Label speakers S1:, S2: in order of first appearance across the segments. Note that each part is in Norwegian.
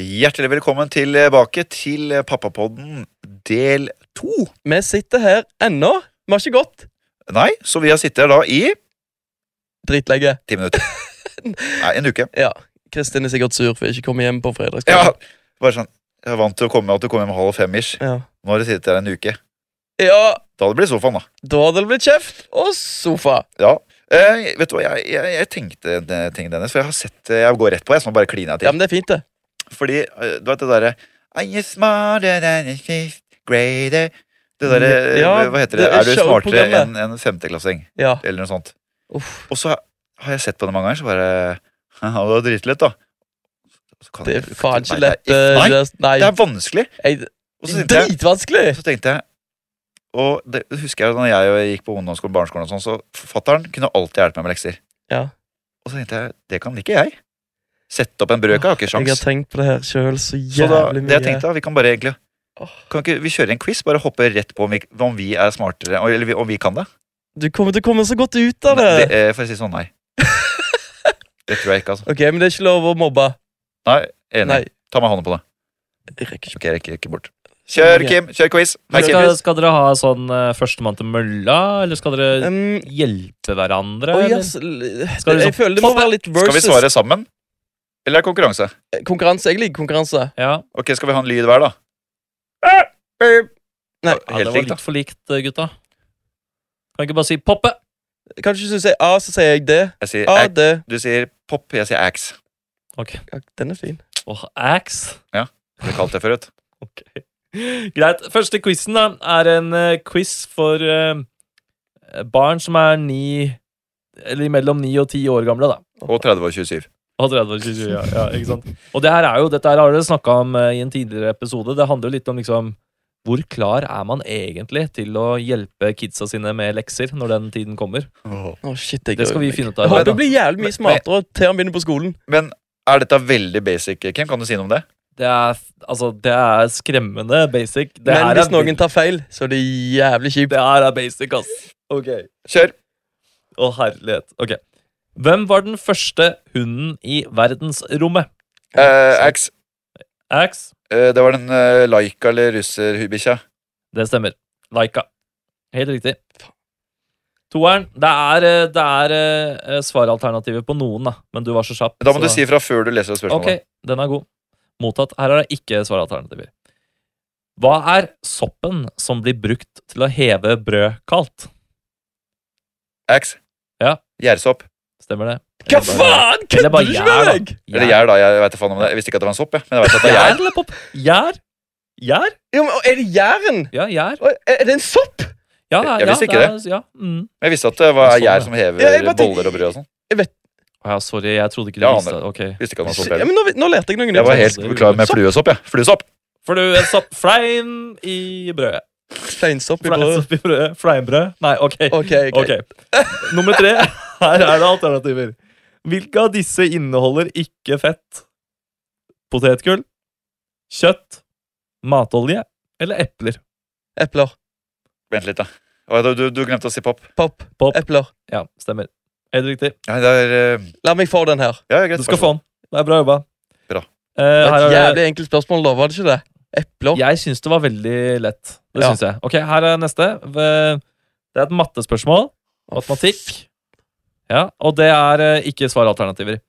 S1: Hjertelig velkommen tilbake til Pappapodden del to.
S2: Vi sitter her ennå. Vi har ikke gått.
S1: Nei, så vi har sittet her da i
S2: Dritlenge.
S1: ti minutter. Nei, en uke.
S2: Ja. Kristin er sikkert sur for jeg ikke kom hjem på
S1: Ja,
S2: fredagskvelden.
S1: bare sånn. Jeg er vant til å komme at du kommer hjem halv fem-ish.
S2: Ja.
S1: Nå har du sittet her en uke.
S2: ja,
S1: Da hadde det blitt sofaen, da.
S2: da hadde det blitt kjeft og sofa.
S1: Ja. Eh, vet du hva, jeg, jeg, jeg tenkte en eh, ting, Dennis, for jeg har sett eh, Jeg går rett på, jeg. Sånn bare kliner jeg til.
S2: Ja, men det er fint, det.
S1: Fordi eh, du vet det derre I am smarter than a fifth grader. Det derre
S2: Mm, Ja,
S1: Hva heter det?
S2: det er
S1: er du smartere
S2: showprogrammet.
S1: enn en femteklassing?
S2: Ja.
S1: Eller noe sånt.
S2: Uff.
S1: Og så har jeg sett på det mange ganger, så bare haha, Det var dritlett, da. Så kan
S2: Det
S1: jeg-
S2: er faen ikke
S1: Nei,
S2: lett.
S1: det er-
S2: eh,
S1: Nei,
S2: just- Nei.
S1: det er vanskelig!
S2: jeg-
S1: Og så tenkte jeg,
S2: Dritvanskelig!
S1: så tenkte jeg Og det husker jeg da jeg gikk på ungdomsskolen, barneskolen og sånn, så forfatteren kunne alltid hjelpe meg med lekser.
S2: Ja.
S1: Og så tenkte jeg, det kan ikke jeg. Sette opp en brøk, jeg har ikke
S2: Jeg har
S1: sjans.
S2: tenkt på det her sjøl så
S1: Så da,
S2: jævlig
S1: det jeg
S2: mye.
S1: tenkte, da, vi kan bare egentlig
S2: Åh.
S1: kan ikke, Vi kjører en quiz, bare hoppe rett på om vi, om vi er smartere, eller vi- om vi kan det.
S2: Du kommer til å komme så godt ut av
S1: Nei,
S2: det.
S1: det eh, for å si det sånn, nei. Det tror jeg ikke, altså.
S2: Ok, men det er ikke lov å mobbe.
S1: Nei, enig.
S2: Nei,
S1: Ta meg hånda på det.
S2: jeg rekker ikke.
S1: Ok, jeg rekker ikke bort. Kjør,
S2: Ok.
S1: Kim! Kjør quiz! Hei, Kim.
S3: Skal, skal dere ha sånn eh, førstemann til mølla, eller skal dere
S2: Um,
S3: hjelpe hverandre?
S2: oi,
S3: eller?
S2: ass, l-
S3: Skal vi
S2: jeg føler det må være litt
S1: Skal vi
S2: versus.
S1: svare sammen? Eller er det konkurranse?
S2: Konkurranse. Jeg liker konkurranse.
S3: Ja.
S1: Ok, Skal vi ha en lyd hver, da?
S2: Nei,
S3: ja, det
S1: Helt
S3: var
S1: likt, da.
S3: litt for likt, eh, gutta. Kan ikke bare si 'poppe'?
S2: Kanskje hvis du sier A, så sier jeg D.
S1: Jeg sier
S2: A,
S1: ax.
S2: D.
S1: Du sier pop, jeg sier ax.
S3: Ok.
S2: Ja, den er fin.
S3: Åh, axe.
S1: Det ble kalt det før, vet du.
S3: Ok. Greit. Første quizen da, er en eh, quiz for eh, barn som er ni Eller mellom ni og ti år gamle, da.
S1: Og 30 og 27.
S3: Og 30 og 27, ja, ja, ikke sant? Og det her er jo, dette her har dere snakka om eh, i en tidligere episode. Det handler jo litt om liksom hvor klar er man egentlig til å hjelpe kidsa sine med lekser når den tiden kommer?
S2: Å, shit, jeg
S3: Det skal
S2: gruer
S3: vi
S2: meg.
S3: finne ut
S2: Jeg
S3: av.
S1: Nei,
S2: håper
S1: da.
S2: du blir jævlig mye
S1: Men-
S2: smartere til han begynner på skolen.
S1: Men er dette veldig basic? Kim, kan du si noe om det?
S3: Det er, altså, det er skremmende basic. Det
S2: Men
S3: her
S2: hvis
S3: er,
S2: noen tar feil, så er det jævlig kjipt.
S3: det her er basic, ass. Ok.
S1: Kjør!
S3: Å, herlighet. Ok. Hvem var den første hunden i verdensrommet?
S1: Eh, ax.
S3: Axe?
S1: Eh, det var den eh, Laika eller russerbikkja.
S3: Det stemmer. Laika. Helt riktig. Toeren. Det er, eh, det er eh, svaralternativer på noen, da. men du var så kjapp.
S1: Da må
S3: så-
S1: du si fra før du leser spørsmålet.
S3: Ok, den er god. Mottatt. Her er det ikke svaralternativer. Hva er soppen som blir brukt til å heve brød kaldt?
S1: Ax.
S3: Ja.
S1: Gjærsopp.
S3: Stemmer det?
S2: Hva
S3: Eller bare-
S2: faen?
S3: eller bare
S2: Kødder du med
S3: jævla.
S2: meg?
S1: Eller gjær, da. Jeg vet da faen om det. Jeg visste ikke at det var en sopp. Jeg. Men jeg vet at det er
S3: Gjær
S1: gjær.
S3: eller pop? Gjær? Gjær?
S2: Ja, men, er det jæren?
S3: Ja, gjær.
S2: Å, Er er det en sopp?
S3: Ja,
S1: Jeg- jeg
S3: ja,
S1: visste ikke
S3: er, Ja. Mm.
S1: Men Jeg visste at det var
S3: Sånn, ja.
S1: gjær som hever
S2: Ja, jeg bare tenkte-
S1: boller og brød og sånn.
S3: Å ja, sorry, jeg trodde ikke du
S1: Ja,
S3: visste det.
S1: Anders.
S3: Ok.
S1: Visste ikke at det var sopp.
S2: Ja,
S1: heller.
S2: men nå, nå lærte jeg noe nytt.
S1: Jeg var helt
S3: det er jo
S1: klar med fluesopp, jeg. Fluesopp!
S3: For du en sopp flein i brødet.
S2: Fleinsopp Sånn i brødet.
S3: Fleinsopp i brødet. Fleinbrød. Nei, ok.
S2: Ok, ok.
S3: Ok. Nummer tre. Her er det alternativer. Hvilke av disse inneholder ikke fett? Potetgull, kjøtt, matolje eller epler?
S2: Epler.
S1: Vent litt, da. Å, Du, du, du glemte å si pop.
S2: Pop.
S3: Pop.
S2: Epler.
S3: Ja, stemmer. Helt riktig.
S1: Nei, det er eh,
S2: La meg få den her.
S1: Ja, greit.
S3: Du skal få den. Det er bra jobba.
S1: Bra.
S3: Eh,
S2: Det var
S3: her
S2: Et
S3: er det.
S2: jævlig enkelt spørsmål, da. Var det ikke det? Epler.
S3: Jeg syns det var veldig lett. Det
S2: Ja.
S3: synes jeg. Ok, Her er neste. V- Det er et mattespørsmål. Matematikk. Ja, Og det er eh, ikke svaralternativer.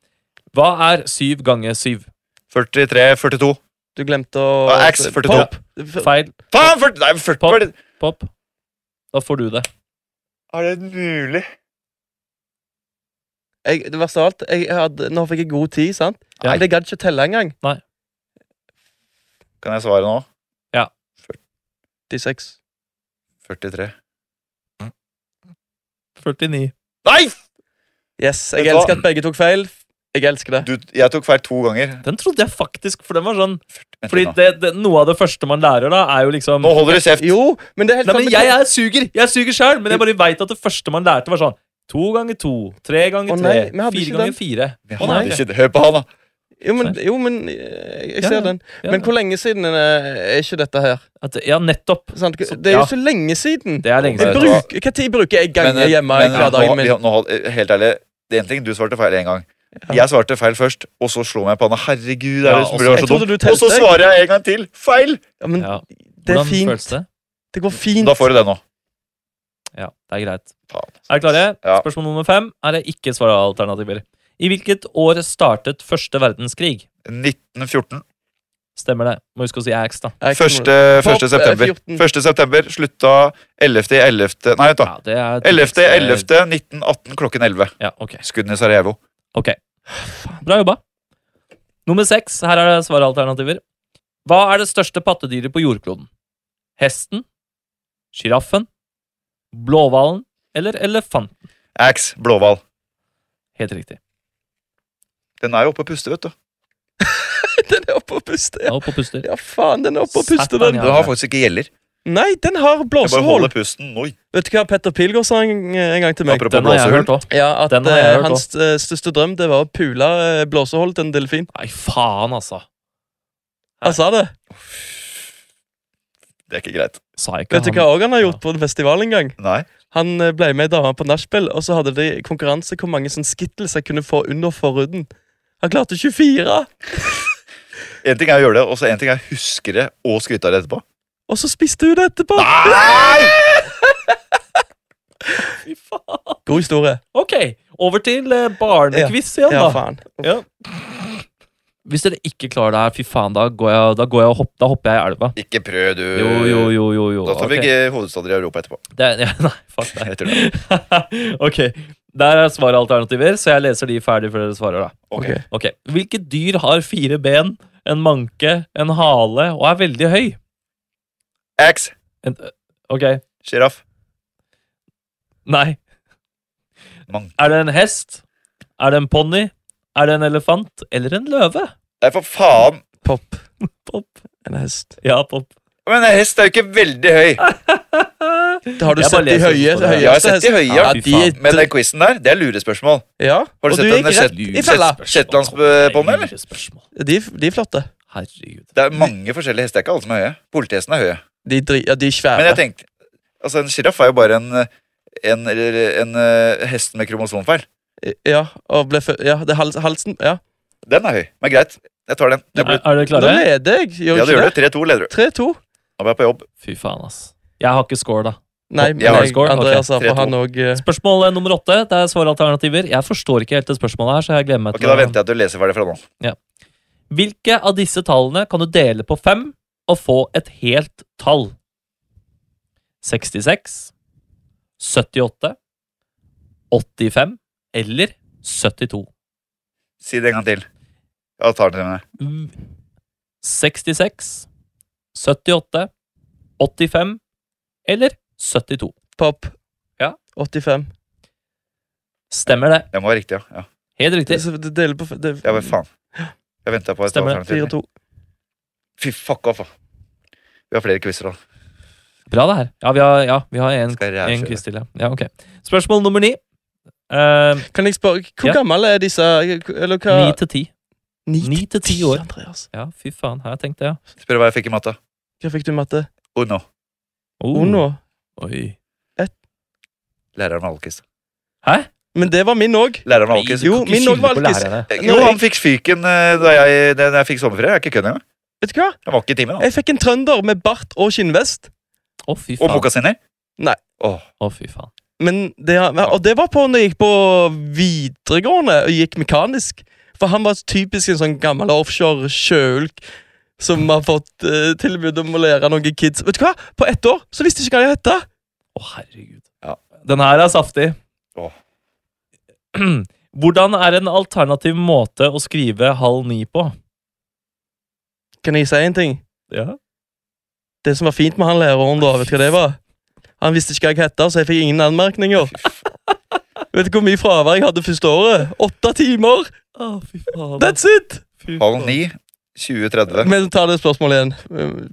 S3: Hva er syv ganger syv?
S1: 43, 42.
S2: Du glemte å
S1: Ja, X, 42.
S2: Pop.
S3: Feil.
S1: Faen, 40, nei, 40
S3: Pop.
S1: var det-
S3: Pop. Da får du det.
S1: Er det mulig?
S2: Jeg, det verste av alt, jeg hadde, nå fikk jeg god tid, sant?
S3: Ja.
S2: Men jeg gadd ikke å telle engang.
S1: Kan jeg svare nå?
S2: De seks.
S1: 43.
S3: 49.
S1: Nei!
S2: Yes, jeg
S1: Vet du hva?
S2: elsker at begge tok feil. Jeg elsker det.
S1: Du, jeg tok feil to ganger.
S3: Den trodde jeg faktisk, for den var sånn
S1: Vent
S3: Fordi
S1: litt nå.
S3: det, det, noe av det første man lærer, da, er jo liksom
S1: Nå holder du kjeft.
S2: Jo, men det er helt
S3: Nei, men
S2: samme-
S3: jeg er suger! Jeg suger sjøl, men jeg bare veit at det første man lærte, var sånn To ganger to, tre ganger
S2: Å,
S3: tre,
S2: nei, vi hadde ikke
S3: fire ganger
S2: den.
S3: fire.
S1: Vi
S3: Å, nei.
S1: hadde ikke det. Hør på han, da.
S2: Jo, men, jo, men eh, jeg
S3: Ja,
S2: ser
S3: ja.
S2: den.
S3: Ja,
S2: Men hvor lenge siden eh, er ikke dette her?
S3: at, ja, nettopp.
S2: Sant?
S3: Så-
S2: Det er jo
S3: ja.
S2: så lenge siden.
S3: Det er lenge
S2: Jeg
S1: Vet
S3: siden.
S1: du hva?
S2: bruker, hva tid bruker jeg ganger
S1: eh,
S2: hjemme i
S1: men, eh,
S2: hverdagen
S1: nå,
S2: min?
S1: ja, nå, hold- eh, Helt ærlig, det er en ting du svarte feil én gang. Jeg svarte feil først, og så slo meg i panna. Herregud, er
S3: Ja,
S1: det som
S3: også-
S1: burde vært
S2: Jeg
S1: så dum?
S2: trodde du
S1: Og så
S2: telte.
S1: svarer jeg en gang til. Feil!
S2: Ja, men
S3: Ja.
S2: det er
S3: Hvordan
S2: fint.
S3: føles det?
S2: Det går fint.
S1: Da får du det nå.
S3: Ja, det er greit.
S1: Faen.
S3: Er dere klare?
S1: Ja.
S3: Spørsmål nummer fem er det ikke svaralternativer. I hvilket år startet første verdenskrig?
S1: 1914.
S3: Stemmer det. Må huske å si Ax, da.
S2: Jeg kan-
S1: Første, første
S2: Hopp, eh,
S1: september.
S2: 14.
S1: Første september slutta 11. i 11. Nei, vent, da.
S3: Ja, det er eh,
S1: 11. i 11. 1918 klokken 11.
S3: Ja, ok.
S1: Skuddene i Sarajevo.
S3: Ok. Bra jobba. Nummer seks. Her er det svaralternativer. Hva er det største pattedyret på jordkloden? Hesten? Sjiraffen? Blåhvalen? Eller elefanten?
S1: Axe, blåhval.
S3: Helt riktig.
S1: Den er jo oppe og puster, vet du.
S2: Den er oppe og puster.
S3: Ja,
S2: Ja,
S3: opp og puster.
S2: ja faen, den er oppe og puster,
S3: Satan,
S2: den.
S3: ja.
S1: Den har faktisk ikke gjeller.
S2: Nei, den har
S1: Den bare
S2: blåsehull.
S1: holder pusten. Oi.
S2: Vet du hva Petter Pilgaard sa en, en gang til meg?
S1: Apropos
S3: Den har jeg
S1: blåsehull.
S3: hørt òg.
S2: Ja, At
S3: Den har jeg
S2: eh,
S3: hørt
S2: hans eh, største drøm det var å pule eh, blåsehull til en delfin.
S3: Nei, faen, altså.
S2: Han sa det.
S1: Det er ikke greit.
S3: Sa jeg ikke
S2: Vet du hva òg han har gjort på en festival en gang?
S1: Nei.
S2: Han eh, ble med ei dame på nachspiel, og så hadde de konkurranse hvor mange sånn skittles jeg kunne få under forhuden. Han klarte 24!
S1: En ting er å gjøre det, og så en ting er å huske det og skryte av det etterpå.
S2: Og så spiste hun det etterpå!
S1: Nei!
S3: Fy faen.
S2: God historie.
S3: Ok, over til eh, barnequiz igjen,
S2: Ja,
S3: da.
S2: faen.
S3: Hvis dere ikke klarer det her, fy faen, da går jeg, da går jeg og hopp, da hopper jeg i elva.
S1: Ikke prøv, du.
S3: Jo, jo, jo, jo. jo.
S1: Da tar vi
S3: ok.
S1: ikke hovedstader i Europa etterpå.
S3: det, er- ja, Nei, fuck det.
S1: Jeg tror det.
S3: ok, der er svaralternativer, så jeg leser de ferdig før dere svarer, da.
S1: Ok.
S2: Ok.
S3: Ok, Hvilket dyr har fire ben, en manke, en hale og er veldig høy?
S1: Axe,
S3: En, eh, ok,
S1: sjiraff,
S3: nei.
S1: mann.
S3: Er det en hest? Er det en ponni? Er det en elefant? Eller en løve?
S1: Nei, for faen.
S2: Pop.
S3: Pop.
S2: En hest.
S3: Ja, pop.
S1: Men en hest er jo ikke veldig høy.
S2: Det har du
S3: Jeg bare
S2: sett de
S3: leser
S2: høye,
S3: på
S2: høyeste
S3: det.
S1: Jeg har sett de høye, ja.
S2: Ja,
S3: Fy
S2: de
S3: faen.
S2: er
S1: Men den quizen der, det er lurespørsmål.
S2: Ja,
S1: Har du
S2: og
S1: sett
S2: gikk
S1: den
S2: rett i fella.
S1: Shet- Shetlandsponny, eller?
S3: Lurespørsmål.
S2: De, de er flotte.
S3: Herregud.
S1: Det er mange forskjellige hester. Det er ikke alle som er høye. Politihestene er høye.
S2: De, dri, ja, de er svære.
S1: Men jeg tenkte Altså, en sjiraff er jo bare en en, eller en eh, hest med kromosomfeil.
S2: Ja, og ble fø ja, det er hals, halsen Ja.
S1: Den er høy, men greit. Jeg tar den. Jeg
S3: Er,
S1: blir,
S3: er dere
S2: Nå
S3: klare?
S2: leder jeg. Gjør
S1: ja, det
S2: ikke
S1: gjør
S2: det?
S1: du. 3-2 leder du.
S2: 3-2.
S1: Nå må jeg på jobb.
S3: Fy faen, ass. Jeg har ikke score, da.
S2: Nei,
S1: Jeg
S2: men
S1: har
S2: jeg,
S3: score. Ok,
S2: Andreas har på
S1: 3-2.
S2: han òg
S3: Spørsmål eh, nummer åtte. Det er svaralternativer. Jeg forstår ikke helt det spørsmålet her, så jeg gleder meg
S1: Ok, Da venter jeg til du leser ferdig fra nå.
S3: Hvilke av disse tallene kan du dele på fem og få et helt tall? 66, 78, 85 eller 72?
S1: Si det en gang til. Ja, tar den til meg.
S3: Mm. 66, 78, 85 eller 72?
S2: pop.
S3: Ja.
S2: 85.
S3: Stemmer det.
S1: Det må være riktig, ja. ja.
S3: Helt
S2: Det,
S3: riktig.
S2: så det deler på det,
S1: Ja, men faen. Jeg venta på et
S3: Stemmer det.
S1: alternativ.
S2: 4-2.
S1: Fy fuck off, da. Vi har flere quizer, da.
S3: Bra, det her. Ja, vi har, ja, vi har en,
S1: Skal jeg
S3: en
S1: rævkjøre?
S3: quiz til, ja. ja ok. Spørsmål nummer ni. Eh,
S2: Kan jeg spørre, hvor
S3: Ja.
S2: gammel er disse Eller hva
S3: Ni til ti.
S2: Ni
S3: Ni til ti år.
S2: Andreas.
S3: Ja, fy faen. Her tenkte jeg.
S1: Spør hva jeg fikk i matte.
S2: Hva fikk du i matte?
S1: Oh no.
S3: Oh,
S2: Uno.
S3: Oi.
S1: Læreren var alkis.
S3: Hæ?
S2: Men det var min òg.
S1: Læreren var alkis.
S2: Jo, min òg var alkis.
S1: Eh, Jo, han fikk fyken eh, da jeg, da jeg fikk sommerferie. Jeg er ikke kødd engang.
S2: Vet du hva?
S1: Han var ikke i timen. da.
S2: Jeg fikk en trønder med bart og skinnvest.
S3: Å,
S1: Og
S3: fy
S1: eh?
S3: faen. Å,
S1: mokasiner.
S2: Nei.
S1: Åh,
S3: fy faen.
S2: Men det, og det var på når jeg gikk på videregående og gikk mekanisk. For han var typisk en sånn gammel offshore sjøulk som har fått eh, tilbud om å lære noen kids. Vet du hva? På ett år så visste jeg ikke hva jeg hette.
S3: Å, herregud.
S1: Ja.
S3: Den her er saftig.
S1: Åh.
S3: Hvordan er en alternativ måte å skrive halv ni på?
S2: Kan jeg si en ting?
S3: Ja.
S2: Det som var fint med han læreren, da, vet du hva det var? Han visste ikke hva jeg hette, så jeg fikk ingen anmerkninger. vet du hvor mye fravær jeg hadde første året? Åtte timer!
S3: Å, fy faen.
S2: That's it!
S3: Fy
S1: halv
S3: faen.
S1: ni. 2030.
S2: Men ta det spørsmålet igjen.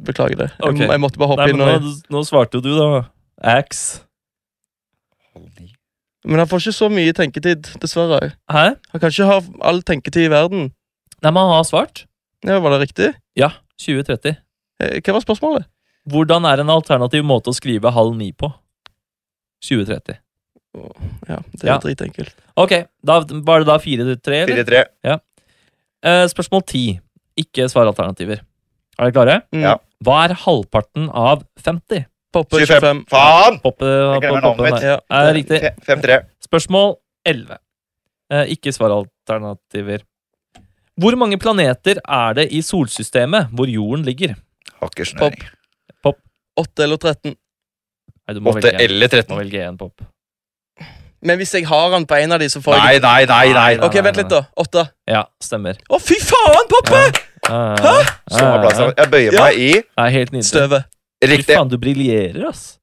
S2: Beklager det.
S3: Ok.
S2: Jeg, jeg måtte bare hoppe
S3: Nei,
S2: inn.
S3: men
S2: og...
S3: nå, nå svarte jo du, da. Axe.
S1: Halv ni.
S2: Men han får ikke så mye tenketid, dessverre.
S3: Hæ?
S2: Han kan ikke ha all tenketid i verden.
S3: Nei, men han har svart.
S2: Ja, Var det riktig?
S3: Ja. 2030.
S2: Eh, Hva var spørsmålet?
S3: Hvordan er en alternativ måte å skrive halv ni på? 2030.
S2: Og, ja, det er
S3: Ja.
S2: dritenkelt.
S3: Ok, da var det da 4-3, eller?
S1: 4-3.
S3: Eh, spørsmål 10. Ikke svar alternativer. Er dere klare?
S2: Mm.
S1: Ja.
S3: Hva er halvparten av 50?
S2: Poppe
S1: 25.
S2: 25.
S1: Faen!
S3: Poppe,
S1: Jeg glemmer
S3: poppe-
S1: navnet mitt.
S3: nei.
S2: Ja.
S3: Er det riktig.
S1: Fe- 5-3.
S3: Spørsmål 11. Eh, ikke svar alternativer. Hvor mange planeter er det i solsystemet hvor jorden ligger?
S1: Har ikke snøring.
S2: 8 eller 13.
S3: Nei, du må
S1: 8
S3: velge en.
S1: eller
S3: Du
S1: 13.
S3: Må velge en pop.
S2: Men hvis jeg har han på en av de, så får jeg
S1: Nei, nei, nei. nei.
S3: Nei,
S2: Ok, vent litt, da. 8.
S3: Ja, stemmer.
S2: Å, fy faen, Poppe!
S3: Hæ?
S1: Slå av bladet. Jeg bøyer
S2: Ja.
S1: meg i
S3: eh, Det er helt nydelig.
S2: Støvet.
S3: Fy
S1: altså. riktig.
S3: faen, du briljerer, ass.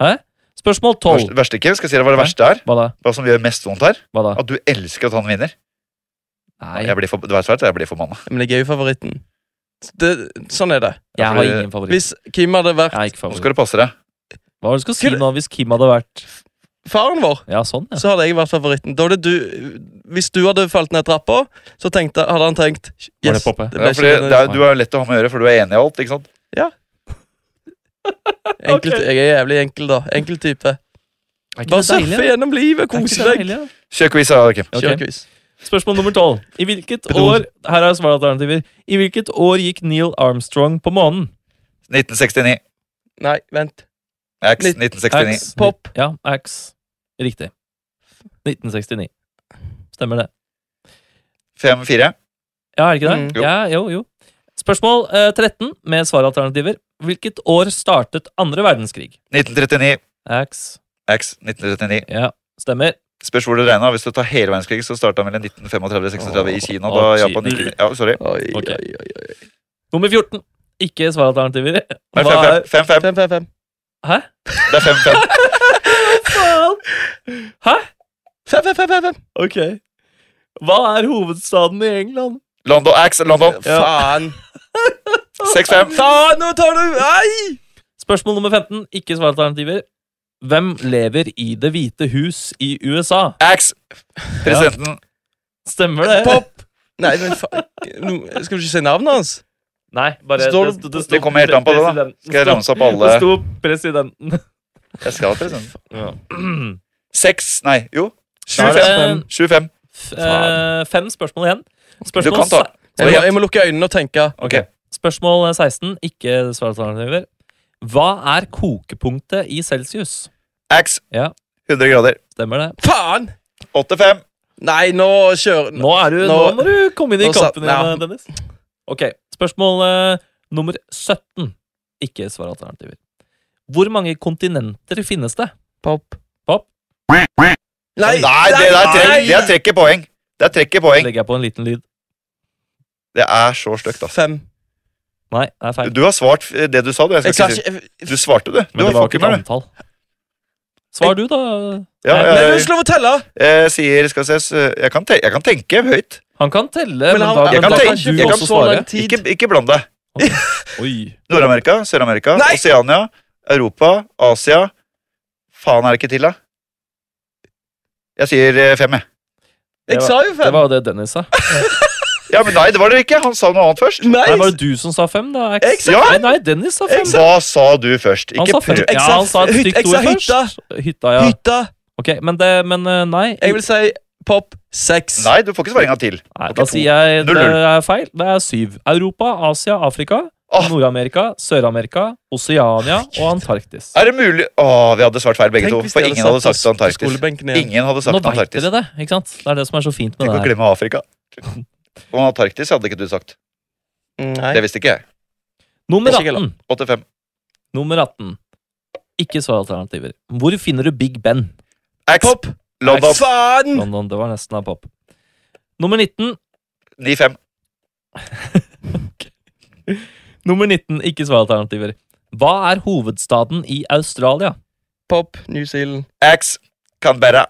S3: Hæ? Spørsmål 12.
S1: Verste- Verste ikke. Skal jeg si deg hva det
S3: Nei.
S1: verste er?
S3: Hva da?
S1: Hva som gjør mest vondt her?
S3: Hva da?
S1: At du elsker at han vinner.
S3: Nei,
S1: Jeg blir for, du vet svært, jeg blir forbanna.
S2: Men jeg er jo favoritten. Det, sånn er det.
S1: Ja,
S3: jeg
S1: fordi-
S3: har ingen favoritt.
S2: Hvis Kim hadde vært
S3: Jeg er ikke
S1: Nå
S3: favoritt.
S1: skal du passe deg.
S3: Hva var det du skulle si nå hvis Kim hadde vært
S2: faren vår,
S3: Ja, sånn, ja.
S2: så hadde jeg vært favoritten. Da hadde du, hvis du hadde falt ned trappa, så tenkte, hadde han tenkt
S3: Var
S2: Yes,
S3: det Poppe?
S1: Ja,
S2: ble
S1: fordi
S2: ikke
S1: det er, du er lett å ha med å gjøre, for du er enig i alt. ikke sant?
S2: enkelt,
S3: Ok.
S2: Jeg er jævlig enkel, da. Enkel type. Bare surfe gjennom livet, kose deg.
S1: Kjør quiz, da, Kim.
S3: Ok.
S2: Kjør quiz.
S3: Spørsmål nummer tolv. I hvilket
S2: Bedro.
S3: år Her er svaralternativer. I hvilket år gikk Neil Armstrong på månen?
S1: 1969.
S2: Nei, vent.
S1: X,
S2: Nitt-
S1: 1969.
S3: Ax.
S2: Pop.
S3: Ja, Ax. Riktig. 1969. Stemmer det.
S1: 5-4.
S3: Ja, er det ikke det?
S2: Mm.
S1: Jo.
S3: Ja, jo, jo. Spørsmål eh, 13 med svaralternativer. Hvilket år startet andre verdenskrig?
S1: 1939.
S3: Ax.
S1: X, 1939.
S3: Ja, stemmer.
S1: Spørs hvor du regna. Hvis du tar hele verdenskrigen, så starta mellom 1935 og 36 i Kina. Da
S3: Å,
S1: Japan ikke Ja, sorry.
S2: Oi,
S3: Ok.
S2: oi, oi, oi.
S3: Nummer 14. Ikke svaralternativer.
S1: Nei,
S3: Hva er
S1: 5-5. 5-5.
S2: 5-5-5.
S3: Hæ?
S1: Det er 5-5.
S3: Hæ?
S2: 5-5-5-5.
S3: Ok. Hva er hovedstaden i England?
S1: London X, London.
S2: Faen.
S1: 6-5.
S2: Faen, nå tar du Nei!
S3: Spørsmål nummer 15. Ikke svaralternativer. Hvem lever i Det hvite hus i USA?
S1: X. Presidenten.
S3: Stemmer det?
S2: Pop! Nei, men faen Nå- Skal du ikke si navnet hans?
S3: Nei, bare
S2: Står-
S3: sto- sto-
S1: det kommer helt an på det, da.
S3: presidenten.
S1: Skal jeg ramse opp alle
S3: Det sto presidenten.
S1: Jeg skal ha presidenten.
S3: Ja.
S1: 6 Nei, jo.
S3: Da er
S1: 7-5.
S3: det
S1: 7-5.
S3: f- eh, fem spørsmål igjen.
S1: Du
S3: Spørsmål,
S1: kan ta.
S2: Jeg må, jeg må lukke øynene og tenke.
S1: Ok.
S3: se- spørsmål 16. Ikke svaralternativer. Hva er kokepunktet i celsius?
S1: X.
S3: Ja.
S1: 100 grader.
S3: Stemmer det?
S2: Faen!
S1: 8-5.
S2: Nei, nå kjør
S3: Nå, er du, nå,
S2: Nå-
S3: må du komme inn i
S2: nå satt-
S3: kampen igjen,
S2: ja.
S3: Dennis. Ok, spørsmål eh, nummer 17. Ikke svaralternativer. Hvor mange kontinenter finnes det?
S2: Pop.
S3: Pop.
S1: Nei, det, der tre, det er trekker poeng. Det er trekker poeng.
S3: Legger jeg på en liten lyd.
S1: Det er så stygt, ass.
S2: Fem.
S3: Nei, det er feil.
S1: Du har svart f- det du sa, du. Jeg
S2: Jeg
S1: skal
S2: kan
S1: ikke si.
S2: ikke
S1: Du svarte, du. Du
S3: Men det
S1: var
S3: var ikke
S1: fucking
S3: et
S1: med, du.
S3: antall. Svar du, da.
S1: Ja,
S3: Nei,
S1: ja,
S2: Nei,
S1: ja.
S2: men Slutt å telle!
S1: Jeg sier skal ses, jeg, kan te jeg kan tenke høyt.
S3: Han kan telle, men,
S2: han-
S3: da,
S1: jeg
S3: men
S1: kan
S3: da
S1: tenke-
S3: kan du
S1: jeg kan
S3: også
S2: så
S3: svare.
S2: langt. Tid.
S1: Ikke, ikke bland deg.
S3: Oi.
S1: Nord-Amerika, Sør-Amerika,
S2: Nei!
S1: Oseania, Europa, Asia Faen, er det ikke til, da? Jeg sier eh, fem, jeg.
S3: Det
S2: Jeg
S3: var-
S2: sa jo
S3: Det
S2: fem.
S3: var jo det Dennis sa.
S1: Ja, men nei, det var det ikke. Han sa noe annet først.
S2: Nei!
S3: Nei, var det du som sa fem, da? Ax?
S2: Jeg sa-
S3: Nei, nei, Dennis sa fem.
S1: Hva sa du først?
S3: Han
S1: Ikke
S3: sa fem.
S1: prøv.
S2: Jeg
S3: Ja,
S2: sa-
S3: han sa et
S2: hyt-
S3: stygt
S2: jeg
S3: ord
S2: sa hytta.
S3: først. Hytta, ja.
S2: Hytta.
S3: Ok, men, det, men eh, nei.
S2: Jeg vil si pop seks.
S1: Nei, du får ikke svare en gang til.
S3: Nei,
S1: Ok,
S3: da
S1: to.
S3: sier jeg
S1: Null,
S3: det
S1: null.
S3: er feil. Det er syv. Europa, Asia, Afrika,
S1: Åh.
S3: Nord-Amerika, Sør-Amerika, Oseania og Antarktis.
S1: Er det mulig Åh, vi hadde svart feil begge
S2: Tenk
S1: to.
S2: hvis
S1: For
S2: de
S1: ingen hadde sagt
S2: satt oss på
S1: Antarktis.
S2: skolebenken igjen.
S1: Ingen hadde
S3: Nå
S1: sagt
S3: veit
S1: Antarktis.
S3: dere det, ikke sant? Det er det som er så fint med
S1: Tenk
S3: det
S1: å
S3: her.
S1: glemme Afrika. Og Antarktis hadde ikke du sagt.
S2: Nei.
S1: Det visste ikke jeg.
S3: Nummer
S2: Det er ikke
S3: 18.
S1: 85.
S3: Nummer 18. Ikke svar alternativer. Hvor finner du Big Ben?
S1: Ax,
S2: Pop.
S1: London,
S2: Faen!
S3: London, det var nesten av pop. Nummer 19.
S1: 95.
S3: Nummer 19. Ikke svar alternativer. Hva er hovedstaden i Australia?
S2: Pop. New Zealand.
S1: Ax, Canberra.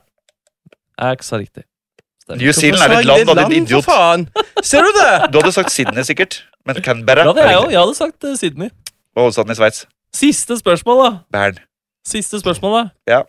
S3: Er ikke så riktig. Stemmer.
S1: New Zealand er
S2: Hvorfor
S1: et
S2: sa
S1: land,
S2: jeg
S1: da, din
S2: land, for
S1: idiot.
S2: faen? Ser du det?
S1: Du hadde sagt Sydney, sikkert. Men Canberra
S3: Ja, det er jeg
S1: er
S3: jo. Jeg hadde sagt eh, Sydney.
S1: Og hovedstaden i Sveits.
S3: Siste spørsmål, da.
S1: Bern.
S3: Siste spørsmål, da.
S1: Ja.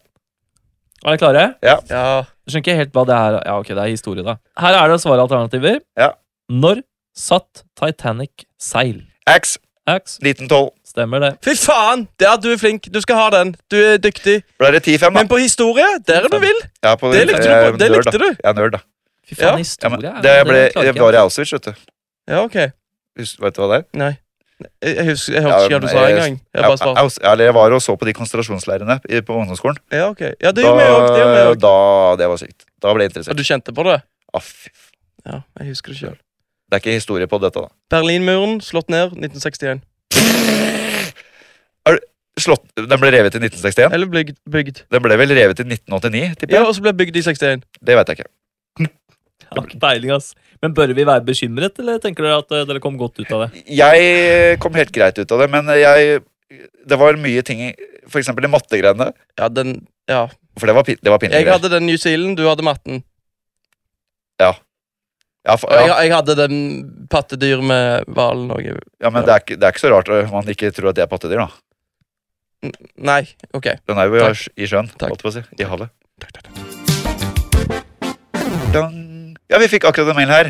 S3: Er dere klare?
S2: Ja.
S3: Jeg skjønner ikke helt hva det er. Ja, ok, det er historie, da. Her er det svaralternativer.
S1: Ja.
S3: Når satt Titanic seil?
S1: Ax,
S3: Ax.
S1: Liten tolv.
S3: Stemmer det.
S2: Fy faen! Der, du er flink. Du skal ha den. Du er dyktig.
S1: Ble det 10-5, da?
S2: Men på historie, der er du vill.
S1: Ja, på-
S2: Det likte du.
S1: jeg er
S2: På. Det
S1: nerd,
S2: likte
S1: da.
S2: du.
S1: Jeg er nerd, da.
S3: Fy
S2: Ja.
S3: faen,
S1: Ja,
S3: historie
S1: men
S3: er-
S1: det ble,
S3: klarer
S1: det
S3: ikke
S1: var i
S3: jeg.
S1: Auschwitz, vet du.
S2: Ja, ok.
S1: Husk- Vet du hva det er?
S2: Nei. Jeg, jeg, husker, jeg
S1: Ja,
S2: hørte ikke hva du
S1: men
S2: sa
S1: jeg-
S2: engang. Jeg
S1: Ja,
S2: bare svarte.
S1: Aus- eller jeg var og så på de konsentrasjonsleirene i- på ungdomsskolen.
S2: Ja, ok. Ja, det gjorde vi òg. Det gjorde vi også.
S1: da Det var sykt. Da ble jeg
S2: Og
S1: interessert.
S2: du kjente på det?
S1: Ah, fy f-
S2: Ja, jeg husker det sjøl.
S1: det er ikke historie på dette, da.
S2: Berlinmuren slått ned 1961.
S1: Slott, den ble revet i 1961.
S2: Eller bygd. bygd.
S1: Den ble vel revet i 1989, tipper
S2: Ja,
S1: jeg.
S2: og så ble bygd i 61.
S1: Det vet jeg ikke.
S3: Har ikke peiling, ass. Men bør vi være bekymret, eller tenker dere at eh, dere kom godt ut av det?
S1: Jeg kom helt greit ut av det, men jeg Det var mye ting i For eksempel de mattegreiene.
S2: Ja, den Ja.
S1: For det var, pin- det var pinlige
S2: Jeg
S1: greier.
S2: hadde den New Zealand, du hadde matten.
S1: Ja, fa-
S2: Og jeg,
S1: ja,
S2: jeg hadde den pattedyr med hvalen og jeg-
S1: ja, men det er, ikke, det er ikke så rart at man ikke tror at det er pattedyr, da.
S2: Nei, OK.
S1: Den er jo
S2: Takk.
S1: i sjøen,
S2: Takk.
S1: holdt på å si. I havet. Dang. Ja, vi fikk akkurat en mail her.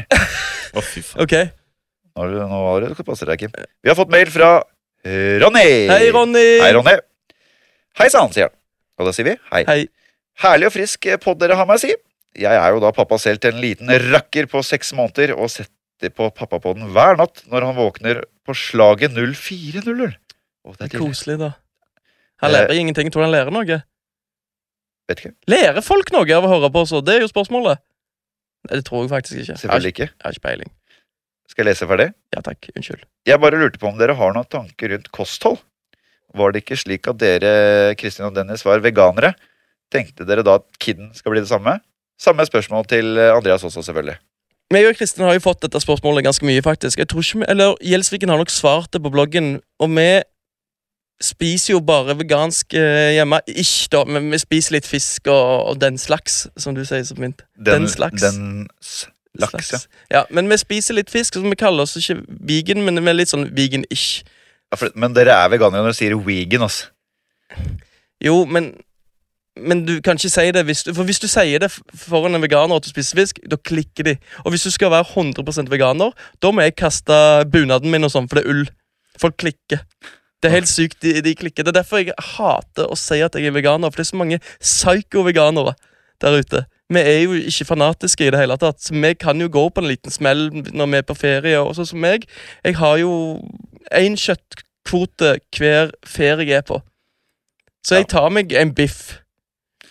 S3: Å, fy faen.
S2: ok
S1: Eh, Nå har du, nå har du, passer deg, Kim. Vi har fått mail fra eh, Ronny.
S2: Hei, Ronny!
S1: Hei, Ronny. Hei sann, sier han. Og da sier vi hei.
S2: Hei.
S1: Herlig og frisk pod dere har meg å si. Jeg er jo da pappa selv til en liten rakker på seks måneder og setter på pappapoden hver natt når han våkner på slaget 0400. Å, det er tidlig.
S2: Koselig, da. Han lærer ingenting. Tror du han lærer noe?
S1: Eh, Vet ikke.
S2: Lærer folk noe av å høre på oss? og Det er jo spørsmålet. Nei, det tror jeg faktisk ikke. Jeg har ikke,
S1: Selvfølgelig ikke.
S2: jeg har ikke peiling.
S1: Skal jeg lese ferdig?
S2: Ja takk. Unnskyld.
S1: Jeg bare lurte på om dere har noen tanker rundt kosthold. Var det ikke slik at dere, Kristin og Dennis, var veganere? Tenkte dere da at kidden skal bli det samme? Samme spørsmål til eh, Andreas også, selvfølgelig.
S2: Men jeg og Kristin har jo fått dette spørsmålet ganske mye, faktisk. Jeg tror ikke vi, eller Gjelsviken har nok svart det på bloggen, og vi spiser jo bare vegansk eh, hjemme. Ikke da, men vi spiser litt fisk og, og den slags, som du sier så fint. Den slags.
S1: Den slags, ja.
S2: Slags. ja. Men vi spiser litt fisk, så vi kaller oss ikke vegan, men vi er litt sånn vegan-ish.
S1: ja for, men dere er veganere når dere sier vegan, altså.
S2: Jo, men men du kan ikke si det hvis du, For hvis du sier det f- foran en veganer at du spiser fisk, da klikker de. Og hvis du skal være 100 veganer, da må jeg kaste bunaden min, og sånn, for det er ull. Folk klikker. Det er helt sykt, de, de klikker. Det er derfor jeg hater å si at jeg er veganer, for det er så mange psyko-veganere der ute. Vi er jo ikke fanatiske i det hele tatt, så vi kan jo gå på en liten smell når vi er på ferie. Og sånn som meg, jeg har jo én kjøttkvote hver ferie jeg er på. Så jeg tar meg en biff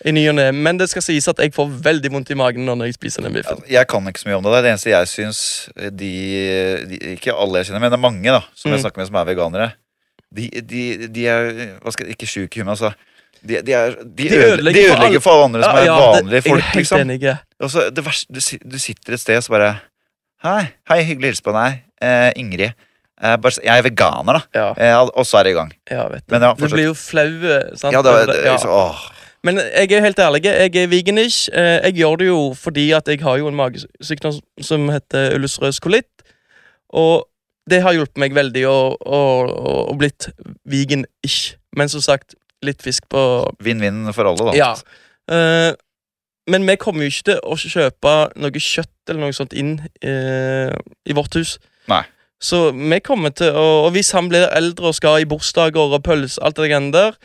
S2: i ny og ne, men det skal sies at jeg får veldig vondt i magen når jeg spiser den biffen.
S1: Jeg kan ikke så mye om det der. Det eneste jeg syns de, de Ikke alle jeg kjenner, men det er mange da som
S2: Mm.
S1: jeg snakker med som er veganere. De, de, de er hva skal, jeg- ikke sjuke i huet, altså. De, de, er, de, ødelegger, de
S2: ødelegger for alle-
S1: ødelegger for alle andre som er vanlige
S2: jeg er
S1: folk.
S2: helt
S1: liksom
S2: enig. ja.
S1: Og så det verste, du, si- du sitter et sted og så bare Hei, hei, hyggelig å hilse på deg. Eh, Ingrid. Eh, bare, s- jeg er veganer, da.
S2: Ja,
S1: Eh, al- og så er det i gang.
S2: ja, vet du.
S1: Men ja,
S2: du
S1: fortsett.
S2: blir jo flau. eh, sant?
S1: Ja, det,
S2: over
S1: det,
S2: ja.
S1: så, åh,
S2: Men jeg er helt ærlig, jeg er veganish. Eh, Jeg gjør det jo fordi at jeg har jo en magesykdom som heter ulcerøs kolitt. Og det har hjulpet meg veldig å, å, å, å blitt vegan-ish. Men som sagt, litt fisk på,
S1: Vinn-vinn for alle, da.
S2: Ja. Eh, men vi kommer jo ikke til å kjøpe noe kjøtt eller noe sånt inn eh, i vårt hus.
S1: Nei.
S2: Så vi kommer til å Og hvis han blir eldre og skal i bursdager og pølse, alt det greiene der,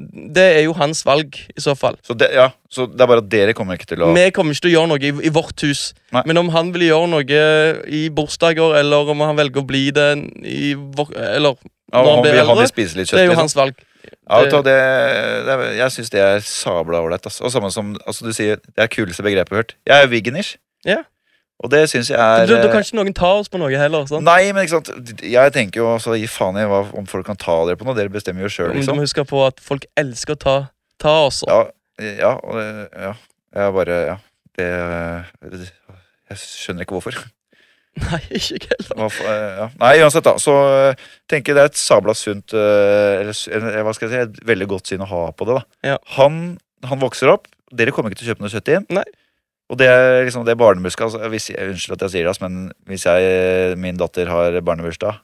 S2: det er jo hans valg, i så fall.
S1: Så, det, ja. så det er bare at dere kommer ikke til å
S2: Vi kommer ikke til å gjøre noe i, i vårt hus.
S1: Nei.
S2: Men om han vil gjøre noe eh, i bursdager, eller om han velger å bli det i vår, Eller
S1: Ja,
S2: når han
S1: om
S2: blir
S1: vi- han
S2: eldre,
S1: vil spise litt kjøtt.
S2: Det er jo
S1: liksom.
S2: hans valg.
S1: ja, vet du hva,
S2: det-
S1: det, det, er- jeg syns det er sabla ålreit. ass. Og samme som altså, du sier, det er kuleste begrepet jeg har hørt. Jeg er veganish.
S2: Ja.
S1: Og det syns jeg
S2: Da,
S1: er
S2: da
S1: eh,
S2: kan ikke noen ta oss på noe heller. sant?
S1: Nei, men ikke sant Jeg tenker jo altså, gi faen i hva, om folk kan ta dere på noe. Dere bestemmer jo sjøl,
S2: Men Mm, Du
S1: liksom.
S2: må huske på at folk elsker å ta, ta oss.
S1: Ja, eh, ja, og det- ja. Jeg bare Ja. Det Jeg skjønner ikke hvorfor.
S2: Nei, ikke jeg heller.
S1: Hva fa- ja. Nei, uansett, da. Så eh, tenker jeg det er et sabla sunt eh, Eller s- eller hva skal jeg si, et veldig godt syn å ha på det. da
S2: Ja.
S1: han, han vokser opp. Dere kommer ikke til å kjøpe noe kjøtt inn.
S2: Nei.
S1: Og det er liksom det er barnebursdag altså, hvis, jeg- Unnskyld at jeg sier det, ass, men hvis jeg, eh, min datter har barnebursdag,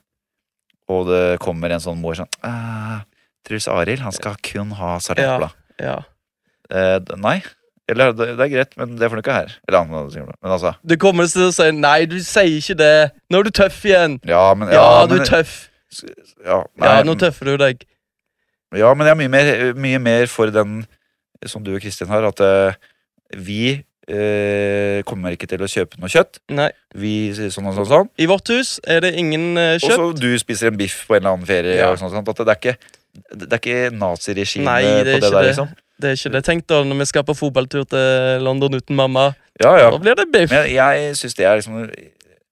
S1: og det kommer en sånn mor sånn «Ah, Truls Arild, han skal kun ha
S2: Ja.
S1: sardineblad.
S2: Ja.
S1: Eh, d- nei. Eller det, det er greit, men det får du ikke her. Eller han, han sier det. men altså
S2: Du kommer til å si 'nei, du sier ikke det'. Nå er du tøff igjen.
S1: Ja, men,
S2: Ja,
S1: ja,
S2: du
S1: men
S2: er tøff.
S1: Ja,
S2: Ja,
S1: nei,
S2: nå tøffer du deg.
S1: Ja, men jeg er mye mer, mye mer for den som du og Kristin har, at eh, vi eh, kommer ikke til å kjøpe noe kjøtt.
S2: Nei.
S1: Vi sier sånn og sånn. sånn.
S2: I vårt hus er det ingen eh,
S1: Og
S2: kjøtt.
S1: så du spiser en biff på en eller annen ferie.
S2: Ja.
S1: og sånn, sånn, at det er ikke, det er ikke naziregime
S2: Nei,
S1: på
S2: det er
S1: det
S2: ikke
S1: der,
S2: det.
S1: liksom.
S2: Det er ikke det. Tenk da når vi skal på fotballtur til London uten mamma.
S1: Ja, ja.
S2: Da blir det biff.
S1: Men jeg syns det er liksom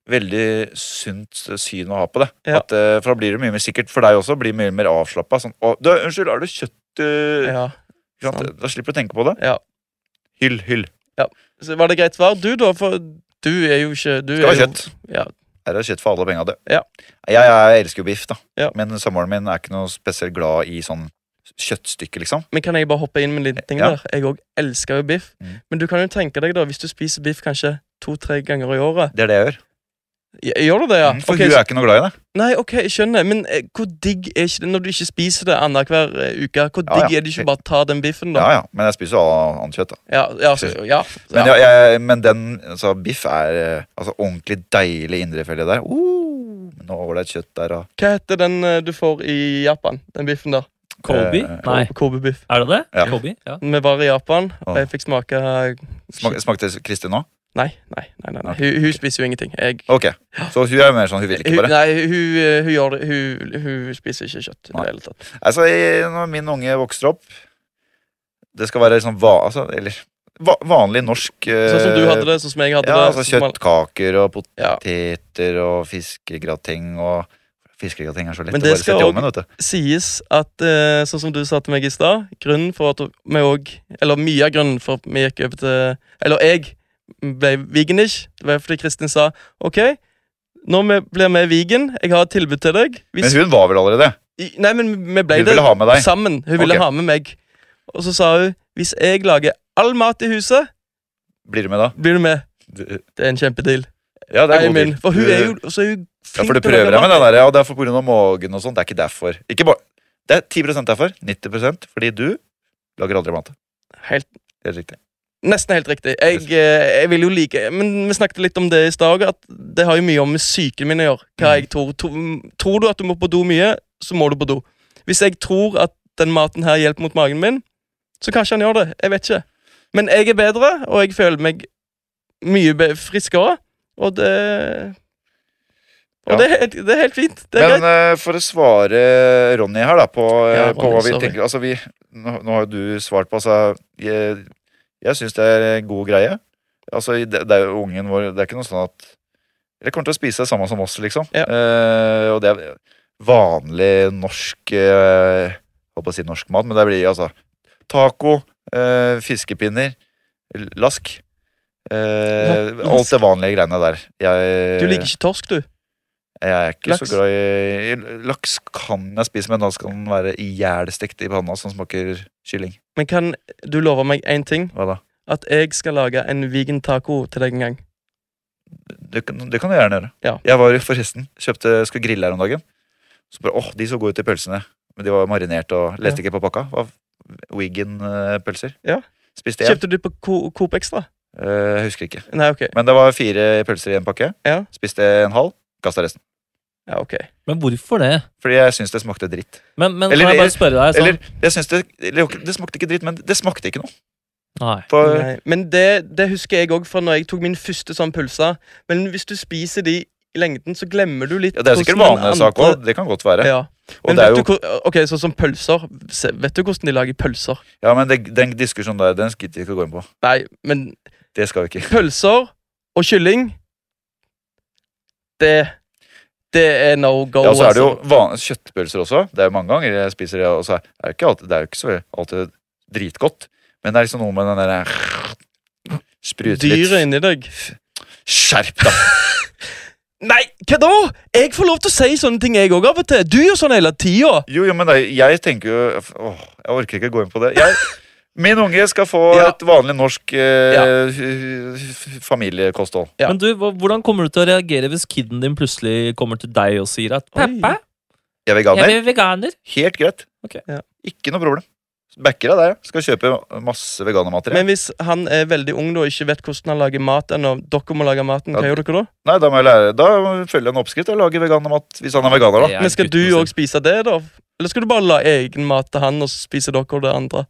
S1: veldig sunt syn å ha på det.
S2: Ja.
S1: At, eh, for da blir det mye mer sikkert for deg også. Blir mye mer avslappa. Sånn, «Å, du, 'Unnskyld, har du kjøtt eh,
S2: Ja.
S1: ikke sant? Da slipper du å tenke på det.
S2: Ja.
S1: Hyll, hyll.
S2: Så var det greit svar? Du, da? For du er jo ikke du
S1: Skal
S2: er
S1: ha
S2: jo-
S1: kjøtt.
S2: Ja.
S1: Her er kjøtt for alle penga, du.
S2: Ja.
S1: Jeg, jeg elsker jo biff, da.
S2: Ja.
S1: Men samboeren min er ikke noe spesielt glad i sånn kjøttstykke, liksom.
S2: Men kan jeg bare hoppe inn med en liten ting
S1: Ja.
S2: der? Jeg òg elsker jo biff.
S1: Mm.
S2: Men du kan jo tenke deg, da, hvis du spiser biff kanskje to-tre ganger i året
S1: Det er det jeg gjør.
S2: Ja, Gjør du det, ja?
S1: Mm, For
S2: Ok,
S1: hun
S2: så-
S1: er ikke noe glad i det.
S2: Nei, ok, jeg skjønner. Men eh, hvor digg er ikke det når du ikke spiser det annenhver eh, uke? Hvor
S1: Ja, ja.
S2: digg er det ikke bare å ta den biffen,
S1: Ja,
S2: da?
S1: ja. Men jeg spiser jo all- annet kjøtt, da.
S2: Ja, ja, så, ja,
S1: Men,
S2: ja.
S1: ja, jeg, men den altså, biff er eh, altså, ordentlig deilig indrefilet der. Uh, nå var det et kjøtt der, og
S2: Hva heter den eh, du får i Japan? Den biffen der?
S3: Kobe?
S1: Eh,
S3: Nei,
S2: Kobe-biff.
S3: er det det?
S1: Ja.
S3: Kobe? Ja.
S2: Vi var i Japan, og
S1: Åh.
S2: jeg fikk smake eh,
S1: smak, Smakte Kristin nå?
S2: Nei, nei, nei. nei, nei.
S1: Ok,
S2: Hun, hun spiser jo ingenting. Jeg
S1: Ok. Så hun er jo mer sånn hun vil ikke,
S2: hun,
S1: bare.
S2: nei, hun, eh, hun, gjør det, hun, hun spiser ikke kjøtt. i
S1: Nei.
S2: det hele tatt.
S1: Altså, jeg, når min unge vokser opp Det skal være sånn va... Altså, eller va, vanlig norsk eh,
S2: Sånn som du hadde det, sånn som jeg hadde
S1: Ja,
S2: det.
S1: altså
S2: sånn som alle-
S1: kjøttkaker og
S2: Ja.
S1: poteter og fiskegrateng og Fiskegrateng er så lett å
S2: Men det
S1: bare
S2: skal
S1: sette i
S2: også-
S1: ovnen, vet du.
S2: sies at, eh, sånn som du sa til meg i stad Grunnen for at vi òg Eller mye av grunnen for at vi gikk over til Eller jeg ble veganish, det var fordi Kristin sa OK, nå vi- blir vi vegan. Jeg har et tilbud til deg. Vi
S1: Men hun var vel allerede?
S2: sk- nei, men vi ble
S1: Hun
S2: det
S1: ville ha med deg?
S2: sammen. Hun ville
S1: Ok.
S2: ha med meg. Og så sa hun hvis jeg lager all mat i huset,
S1: Blir du med da?
S2: blir du med.
S1: Du-
S2: Det er en kjempedeal.
S1: Ja, det er
S2: Jeg
S1: god
S2: min.
S1: deal.
S2: For hun
S1: Du-
S2: er jo så er hun
S1: Ja,
S2: flink
S1: for du
S2: til å lage
S1: prøver deg med
S2: mat.
S1: den der, ja, det er for pga. magen og sånn. Det er ikke derfor. Ikke bare, det er 10 derfor. 90 fordi du lager aldri mat.
S2: Helt
S1: Helt riktig.
S2: Nesten helt riktig. Jeg,
S1: Yes.
S2: eh, jeg vil jo like Men vi snakket litt om det i stad, at det har jo mye om psyken min å gjøre. Hva
S1: Mm.
S2: jeg tror. To- Tror du at du må på do mye, så må du på do. Hvis jeg tror at den maten her hjelper mot magen min, så kanskje han gjør det. Jeg vet ikke. Men jeg er bedre, og jeg føler meg mye be friskere, og det Og
S1: Ja.
S2: det, er, helt- det er helt fint. Det er
S1: Men
S2: greit.
S1: eh, for å svare Ronny her, da, på, eh,
S2: Ja,
S1: på hva
S2: Ronny,
S1: vi
S2: sorry.
S1: tenker Altså, vi Nå, nå har jo du svart på, altså Jeg, jeg syns det er en god greie. Altså, det, det er jo ungen vår Det er ikke noe sånn at Dere kommer til å spise det samme som oss, liksom.
S2: Ja.
S1: Eh, og det er vanlig norsk eh, Jeg holdt på å si norsk mat, men det blir altså taco, eh, fiskepinner, lask. Eh,
S2: La-
S1: alt det vanlige greiene der. Jeg,
S2: Du liker ikke torsk, du.
S1: jeg er ikke
S2: Laks?
S1: så glad i i- Laks kan jeg spise, men da skal den være ihjelstekt i panna, som smaker kylling.
S2: Men kan du love meg én ting?
S1: Hva da?
S2: At jeg skal lage en vegan taco til deg en gang.
S1: Det kan, det kan du gjerne gjøre.
S2: Ja.
S1: Jeg var jo forresten, kjøpte, skulle grille her om dagen. Så bare, åh, de så gode ut i pølsene. Men de var marinert og leste ikke på pakka. Var Wigan-pølser.
S2: Ja.
S1: Spiste én.
S2: Kjøpte du på Co- Coop Extra?
S1: Eh, husker ikke.
S2: Nei, ok.
S1: Men det var fire pølser i en pakke.
S2: Ja.
S1: Spiste en halv. Kasta resten.
S2: Ja, ok.
S3: Men hvorfor det?
S1: Fordi jeg syns det smakte dritt.
S3: Men, men
S1: Eller-
S3: kan jeg bare spørre deg sånn
S1: Eller, jeg synes det, eller det smakte ikke dritt, men det smakte ikke noe.
S3: Nei.
S1: For,
S2: Nei. Men det, det husker jeg òg fra når jeg tok min første sånn pølse. Men hvis du spiser de i lengden, så glemmer du litt
S1: Ja, det er sikkert
S2: hvordan den
S1: vanesak
S2: andre-
S1: òg. Det kan godt være.
S2: Ja.
S1: Og
S2: Men
S1: det er
S2: vet
S1: jo,
S2: du hvor, ok, sånn som pølser se- Vet du hvordan de lager pølser?
S1: ja, men det, den diskusjonen der, den gidder vi ikke å gå inn på.
S2: Nei, men
S1: Det skal vi ikke.
S2: pølser og kylling Det Det er no go.
S1: Ja, og så er det jo
S2: altså.
S1: van kjøttpølser også. Det er jo mange ganger jeg spiser det, og så er det, ikke alltid, det er jo ikke så alltid dritgodt. Men det er liksom noe med den derre Sprute
S2: Dyret
S1: litt.
S2: inni deg.
S1: Skjerp deg!
S2: Nei, hva da?! Jeg får lov til å si sånne ting, jeg òg, av og til. Du gjør sånn hele tida.
S1: Jo, jo, men det, er- jeg tenker jo Åh, jeg orker ikke å gå inn på det. Jeg, min unge skal få
S2: Ja.
S1: et vanlig norsk eh,
S2: Ja.
S1: f- f- familiekosthold.
S2: Ja.
S3: Men du, hva- hvordan kommer du til å reagere hvis kiden din plutselig kommer til deg og sier at
S2: Oi.
S3: Pappa,
S1: Jeg er
S3: jeg
S1: veganer.
S3: blir veganer?
S1: Helt greit.
S3: Ok.
S2: Ja.
S1: Ikke noe problem. Backer deg der. Skal kjøpe masse veganermateriell.
S2: Men hvis han er veldig ung da og ikke vet hvordan han lager mat ennå, dere må lage maten, hva
S1: Ja,
S2: gjør dere da?
S1: Nei, da må jeg lære Da følger jeg en oppskrift og lager veganermat hvis han er veganer, da.
S3: Jeg er
S2: Men skal du
S3: gutten sin.
S2: òg spise det, da? Eller skal du bare la egen mat til han, og så spiser dere det andre?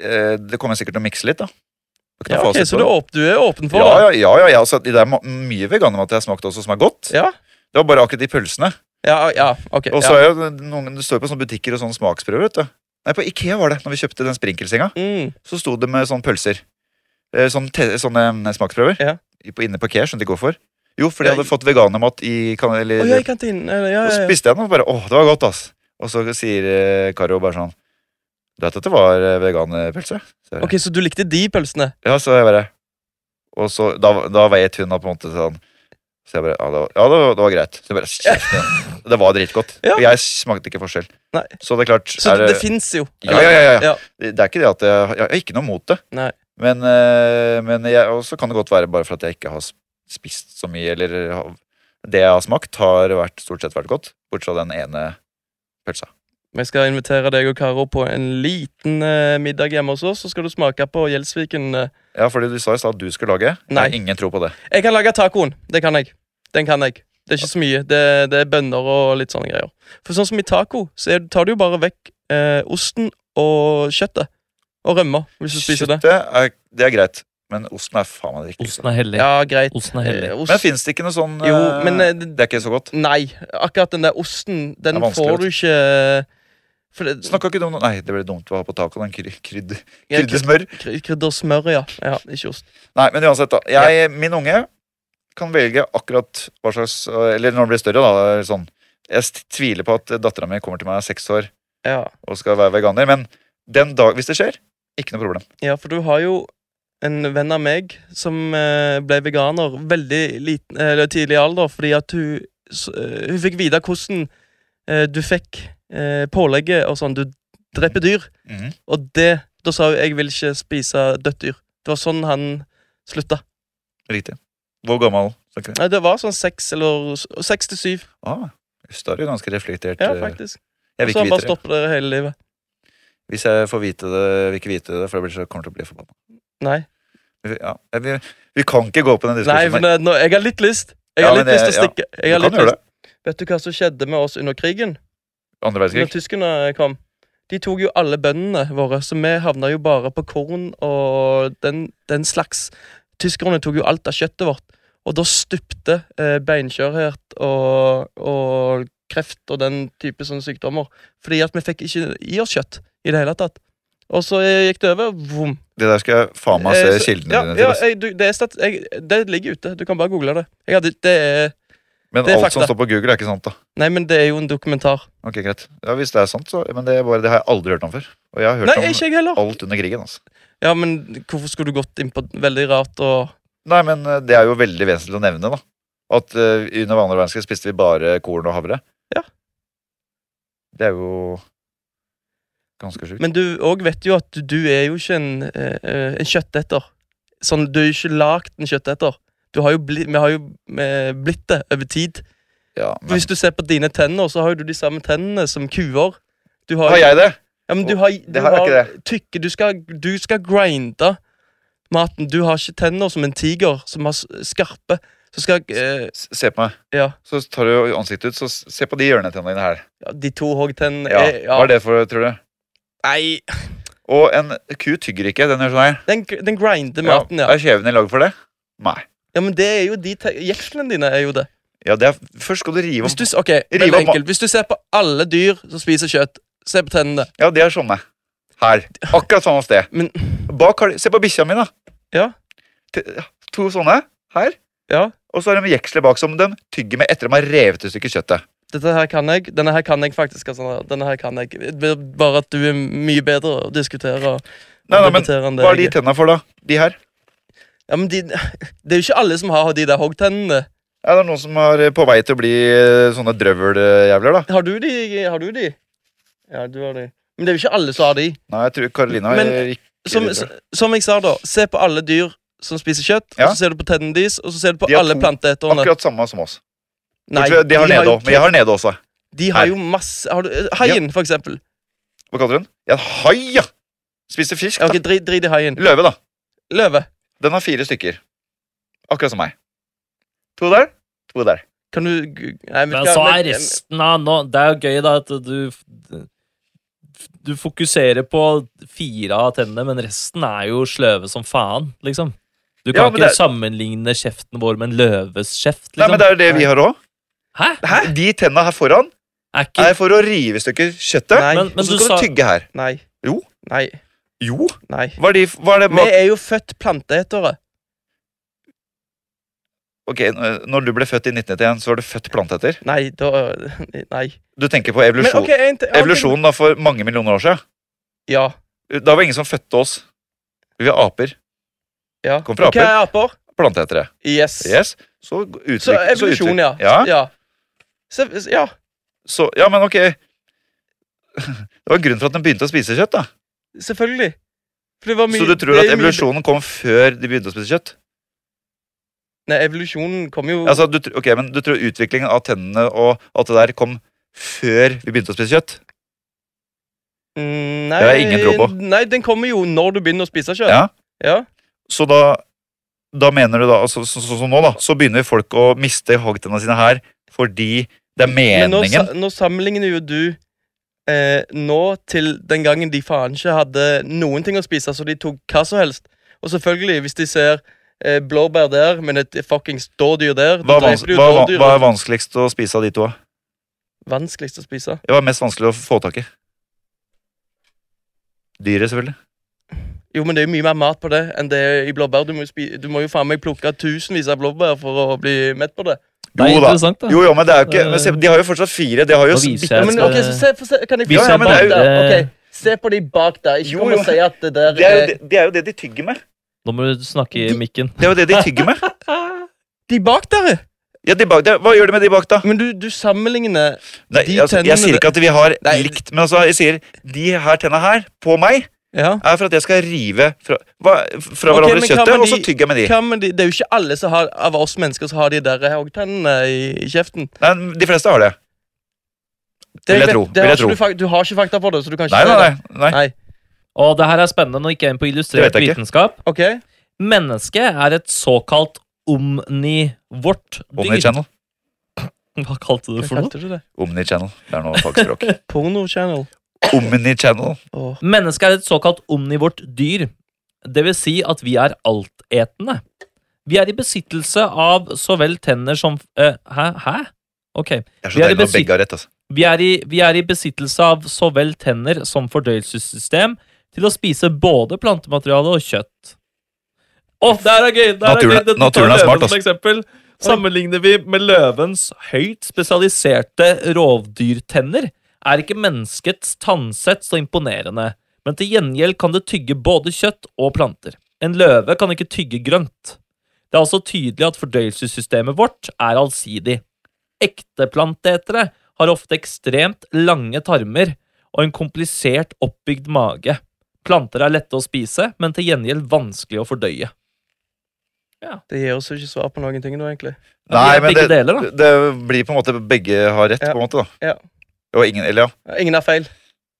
S1: Eh, Det kommer jeg sikkert til å mikse litt, da. Det er ikke
S2: Ja,
S1: noe
S2: ok,
S1: fasit
S2: Så
S1: på
S2: du
S1: det.
S2: er, åp du er åpen for
S1: ja,
S2: det?
S1: ja, ja, ja, ja. Altså, det er ma- mye veganermat jeg har smakt også, som er godt.
S2: Ja,
S1: Det var bare akkurat de pølsene.
S2: ja, ja ok.
S1: Og så
S2: ja.
S1: er jo noen, Det står jo på sånne butikker og sånne smaksprøver. vet du Nei, På Ikea var det, når vi kjøpte den sprinkelsenga.
S2: Mm.
S1: Så sto det med sånne pølser. Eh, Sånne, te, sånne eh, smaksprøver.
S2: Ja.
S1: I- På, inne på Ikea, skjønte ikke hvorfor. Jo, fordi jeg
S2: Ja,
S1: hadde fått veganermat i kan, eller,
S2: Å, ja, i kantinen. eller, Ja,
S1: Og så
S2: ja, ja.
S1: spiste jeg den, og bare åh, det var godt, ass. Og så sier eh, Karo bare sånn Du vet at det var eh, veganpølse? Så jeg-
S2: Ok, Så du likte de pølsene?
S1: Ja, så jeg bare Og så, da, da vet hun da på en måte sånn Så jeg bare, ja det var, ja, det var, det var greit Så jeg bare, kjeft igjen. Det var dritgodt
S2: Ja.
S1: Og jeg smakte ikke forskjell
S2: Nei.
S1: Så det er klart
S2: Så
S1: er
S2: det,
S1: det,
S2: det fins jo.
S1: ja, ja, ja, ja.
S2: Ja.
S1: Det det er ikke det at jeg, jeg har ikke noe mot det
S2: Nei.
S1: Men, eh, men jeg, og så kan det godt være bare for at jeg ikke har s- spist så mye Eller har- det jeg har smakt har vært, stort sett vært godt Bortsett fra den ene pølsa
S2: Jeg skal invitere deg og Karo på en liten eh, middag hjemme hos oss, så skal du smake på Gjelsviken. eh.
S1: Ja, fordi du sa i stad at du skulle lage Jeg har
S2: Nei.
S1: Ingen tro på det
S2: Jeg kan lage tacoen. Det kan jeg. Den kan jeg. Det er ikke så mye. Det, det er bønner og litt sånne greier. For sånn som i taco, så er, tar du jo bare vekk eh, osten og kjøttet. Og rømma, hvis du spiser det.
S1: Kjøttet er, det er greit Men osten er faen meg ikke
S3: Osten er hellig.
S2: Ja, greit.
S3: Osten er hellig.
S2: Eh,
S1: Men
S2: ost.
S1: finnes det ikke noe sånn
S2: Jo,
S1: eh,
S2: men eh, d-
S1: Det er ikke så godt.
S2: Nei. Akkurat den der osten, den
S1: Det er vanskelig,
S2: får du ikke eh, for det,
S1: Snakka ikke du om noe Nei, det ble dumt å ha på taco. Den kry- krydder-
S2: Ja, kry-
S1: kryddersmør.
S2: kry- Krydder og smør, ja. ja. Ikke ost.
S1: Nei, men uansett, da. Jeg, Min unge kan velge akkurat hva slags eh, Eller når den blir større, da. eller Sånn. Jeg st- tviler på at dattera mi kommer til meg er seks år
S2: Ja.
S1: og skal være veganer, men den dag, hvis det skjer, ikke noe problem.
S2: Ja, for du har jo en venn av meg som eh, ble veganer veldig liten, eller tidlig i alder, fordi at hun, s- eh, hun fikk vite hvordan eh, du fikk eh, pålegget og sånn. Du dreper dyr,
S1: Mhm.
S2: og det Da sa hun 'jeg vil ikke spise dødt dyr'. Det var sånn han slutta.
S1: Riktig. Hvor gammel snakker vi?
S2: Nei, det var sånn seks eller s- seks til syv.
S1: Ah, Jøss, da er du ganske reflektert.
S2: Ja, Altså,
S1: eh,
S2: faktisk.
S1: jeg vil ikke
S2: Så han bare
S1: vite det.
S2: stopper det hele livet.
S1: Hvis jeg får vite det, vil ikke vite det, for jeg blir så, kommer til å bli forbanna.
S2: Nei.
S1: Ja, jeg- vi, vi kan ikke gå på den
S2: Nei,
S1: diskusjonen.
S2: men eh, nå, jeg har litt lyst. Jeg
S1: Ja,
S2: har
S1: men
S2: litt lyst til
S1: det-
S2: å stikke. Jeg har
S1: du
S2: litt
S1: kan gjøre
S2: lyst.
S1: det.
S2: Vet du hva som skjedde med oss under krigen?
S1: Andre verdenskrig.
S2: Når tyskerne kom, de tok jo alle bøndene våre, så vi havna jo bare på korn og den, den slags. Tyskerne tok jo alt av kjøttet vårt, og da stupte eh, beinskjørhet og, og kreft og den type sånne sykdommer. Fordi at vi fikk ikke i oss kjøtt i det hele tatt. Og så eh, gikk det over. Vom.
S1: Det der skal jeg faen meg
S2: Eh,
S1: se
S2: så-
S1: kildene
S2: ja,
S1: dine til.
S2: ja,
S1: ass.
S2: jeg, du, det, er stat, jeg, det ligger ute. Du kan bare google det. Jeg hadde, det er,
S1: Men
S2: det er
S1: alt som
S2: fakta.
S1: står på Google, er ikke sant, da.
S2: nei, men det er jo en dokumentar.
S1: Ok, greit. Ja, Hvis det er sant, så. Men det, er bare, det har jeg aldri hørt om før. Og jeg har hørt
S2: Nei, ikke jeg heller.
S1: om alt under krigen. altså.
S2: Ja, men hvorfor skulle du gått inn på veldig rart og
S1: Nei, men eh, det er jo veldig vesentlig å nevne, da. At eh, under andre verdenskrig spiste vi bare korn og havre.
S2: Ja.
S1: Det er jo ganske sjukt.
S2: Men du òg vet jo at du, du er jo ikke en, eh, eh, en kjøtteter. Sånn, du er jo ikke lagd en kjøtteter. Du har jo bli, vi har jo eh, blitt det over tid.
S1: Ja,
S2: For
S1: men
S2: Hvis du ser på dine tenner, så har jo du de samme tennene som kuer. Du har,
S1: Har jeg det?
S2: Ja, men du har, du
S1: har jeg ikke
S2: tykke Du skal, du skal grinde maten. Du har ikke tenner som en tiger, som har s- skarpe. Så skal eh,
S1: S- Se på meg.
S2: ja,
S1: Så tar du jo ansiktet ut, så s- se på de hjørnetennene dine her.
S2: ja, de to hoggtennene
S1: Ja,
S2: er-
S1: Hva er det for, tror du?
S2: Nei,
S1: Og en ku tygger ikke. Den gjør sånn her.
S2: den, gr- den grinder
S1: Ja,
S2: maten, ja.
S1: Er kjeven i lag for det? Nei.
S2: Ja, men det er jo de te- Gjekslene dine er jo det.
S1: Ja, det er, først skal du rive
S2: Hvis
S1: om
S2: du, s- ok, veldig
S1: opp
S2: enkelt. Hvis du ser på alle dyr som spiser kjøtt, se på tennene.
S1: Ja, de er sånne. Her. Akkurat samme sted.
S2: Men
S1: Bak har de Se på bikkja mi, da.
S2: Ja.
S1: T- To sånne her.
S2: ja,
S1: Og så har de jeksler bak som de tygger med etter de har revet et stykke kjøttet.
S2: dette her kan jeg. Denne her kan jeg faktisk. Altså, denne her kan jeg. Det blir Bare at du er mye bedre å diskutere og
S1: Nei, nei, men
S2: debattere enn det
S1: Hva er de
S2: jeg er.
S1: tenna for, da? De her?
S2: Ja, men de, det er jo ikke alle som har de der hoggtennene.
S1: Ja, det er noen som er på vei til å bli eh, sånne drøveljævler, da.
S2: Har du de? Har du de? Ja, du har de. Men det er jo ikke alle som har de.
S1: Nei, jeg tror Karolina
S2: Men-
S1: er ikke
S2: Som,
S1: de, tror jeg.
S2: som jeg sa, da. Se på alle dyr som spiser kjøtt,
S1: Ja.
S2: og så ser du på tennene deres, og så ser du på
S1: De har
S2: alle
S1: to-
S2: planteeterne.
S1: Akkurat samme som oss.
S2: Nei,
S1: Bortsett fra- de har nede
S2: jo
S1: òg, men jeg har nede også.
S2: De har
S1: Her.
S2: jo masse har du, Haien, for eksempel.
S1: Hva kaller du den? Ja, en hai, ja! Spiser fisk,
S2: Ja,
S1: da.
S2: Ok, Drit drit i haien.
S1: Løve, da.
S2: Løve,
S1: Den har fire stykker. Akkurat som meg. To der, to der.
S2: kan du gu- Nei,
S3: Men så er
S2: men-
S3: resten av nå Det er jo gøy, da, at du Du fokuserer på fire av tennene, men resten er jo sløve som faen, liksom. Du kan
S1: Ja, men
S3: ikke
S1: det-
S3: sammenligne kjeften vår med en løves kjeft,
S1: Nei,
S3: liksom.
S1: men det er jo det vi har òg.
S3: Hæ?
S1: De tenna her foran
S3: Er ikke
S1: er for å rive i stykker kjøttet.
S2: Nei,
S3: Men-
S1: og så
S3: du
S1: skal
S3: sa-
S1: du tygge her.
S2: nei.
S1: Jo.
S2: Nei.
S1: Jo,
S2: nei.
S1: hva er de hva er det,
S2: Vi
S1: hva,
S2: er jo født planteetere.
S1: Ok, n- når du ble født i 1991, så var du født planteeter.
S2: Nei, da Nei.
S1: Du tenker på
S2: Men,
S1: evolusjon.
S2: ok, en ting-
S1: Evolusjonen da for mange millioner år siden.
S2: Ja.
S1: Da var ingen som fødte oss. Vi var aper.
S2: ja.
S1: Kom fra
S2: Ok,
S1: aper.
S2: aper.
S1: Planteetere.
S2: Yes.
S1: Yes. Så uttrykk...
S2: Så evolusjon,
S1: uttrykk-
S2: ja.
S1: ja.
S2: ja. Så, ja.
S1: Så, ja, men ok. Det var grunnen for at den begynte å spise kjøtt, da.
S2: Selvfølgelig. For det var mye
S1: Så du tror
S2: det
S1: at
S2: er mye-
S1: evolusjonen kom før de begynte å spise kjøtt?
S2: Nei, evolusjonen kom jo
S1: Altså, du, tr- ok, men du tror utviklingen av tennene og alt det der kom før vi begynte å spise kjøtt?
S2: Mm, nei,
S1: Det har jeg ingen tro på.
S2: Nei, den kommer jo når du begynner å spise kjøtt.
S1: Ja.
S2: ja.
S1: Så da, da mener du da, altså, så- så- sånn som nå da, så begynner folk å miste hoggtennene sine her fordi det er
S2: Men nå,
S1: meningen.
S2: sa- nå sammenligner jo du eh, nå til den gangen de faen ikke hadde noen ting å spise, så de tok hva som helst. Og selvfølgelig, hvis de ser eh, blåbær der, men et fuckings dådyr der da
S1: Hva, er vans
S2: dreper de jo
S1: hva, hva,
S2: dådyret.
S1: hva er vanskeligst å spise av de to? da?
S2: Vanskeligst å spise.
S1: Hva er mest vanskelig å få tak i? Dyret, selvfølgelig.
S2: Jo, men det er jo mye mer mat på det enn det er i blåbær. Du må, jo spi du må jo faen meg plukke tusenvis av blåbær for å bli mett på det.
S3: Det er
S1: Jo da.
S3: interessant, da.
S1: Jo, jo, men det er jo ikke men se, De har jo fortsatt fire. De har jo
S3: Nå
S1: s-
S3: viser
S2: Ja,
S3: jeg
S2: men
S3: skal-
S2: ok, så se, få se, Kan jeg
S1: Ja, ja, men det er jo-
S2: der? Ok, Se på de bak der. Ikke
S1: Jo,
S2: kom og
S1: jo.
S2: si at det der
S1: det er, jo
S2: er
S1: det, det er jo det de tygger med.
S3: Nå må du snakke i mikken.
S1: Det er jo det de tygger med.
S2: De bak der,
S1: Ja, de bak, det, hva gjør de med de bak, da?
S2: Men du, du sammenligner
S1: Nei,
S2: De
S1: altså, jeg
S2: tennene-
S1: sier ikke at vi har
S2: Nei.
S1: likt, men altså, jeg sier de her tenna her, på meg,
S2: Ja.
S1: er for at jeg skal rive fra, hva- fra
S2: Ok,
S1: hverandre
S2: men hva
S1: kjøttet,
S2: med
S1: og så
S2: de-
S1: tygger jeg med de.
S2: Hva med de, det er jo ikke alle som har, av oss mennesker som har de der eh, hoggtennene i, i kjeften.
S1: Nei, de fleste har det. Vil
S2: Det,
S1: jeg
S2: vet-
S1: tro,
S2: det
S1: vil
S2: har
S1: jeg
S2: ikke
S1: tro.
S2: Du, fak- du har ikke fakta på det, så du kan ikke
S1: Nei,
S2: si
S1: nei,
S2: det.
S1: nei. nei.
S3: Og det her er spennende, nå gikk jeg inn på illustrert
S1: Det vet jeg ikke.
S3: vitenskap.
S2: Ok,
S3: Mennesket er et såkalt omnivort dyr.
S1: Omnichannel.
S3: Hva kalte du
S2: hva
S3: det for noe?
S2: kalte du det?
S1: Omnichannel. Det er noe fagspråk.
S2: Porno channel.
S1: Omnichannel.
S2: Åh.
S3: Mennesket er et såkalt omnivort dyr. Det vil si at vi er altetende. Vi er i besittelse av så vel tenner som eh, Hæ? Hæ? Ok.
S1: Det er
S3: Vi
S1: så
S3: er i
S1: deilig når
S3: besitt-
S1: begge har rett. altså.
S3: Vi er, i, vi er i besittelse av så vel tenner som fordøyelsessystem til å spise både plantemateriale og kjøtt. Å, det her er gøy! Det her
S1: Naturen
S3: er
S1: er-
S3: gøy. Dette tar
S1: naturen er
S3: løven
S1: smart, altså.
S3: som
S1: ass.
S3: eksempel. Sammenligner vi med løvens høyt spesialiserte rovdyrtenner, er ikke menneskets tannsett så imponerende, men til gjengjeld kan det tygge både kjøtt og planter. En løve kan ikke tygge grønt. Det er altså tydelig at fordøyelsessystemet vårt er allsidig. Ekte plantetere har ofte ekstremt lange tarmer og en komplisert oppbygd mage. Planter er lette å spise, men til gjengjeld vanskelig å fordøye.
S2: Det gir oss jo ikke svar på noen ting nå, egentlig.
S1: Nei,
S3: Ja,
S1: men
S3: begge
S1: det,
S3: deler, da.
S1: det blir på en måte begge har rett,
S2: Ja.
S1: på en måte. da.
S2: Ja.
S1: Og ingen, eller ja.
S2: Ja, Ingen har feil.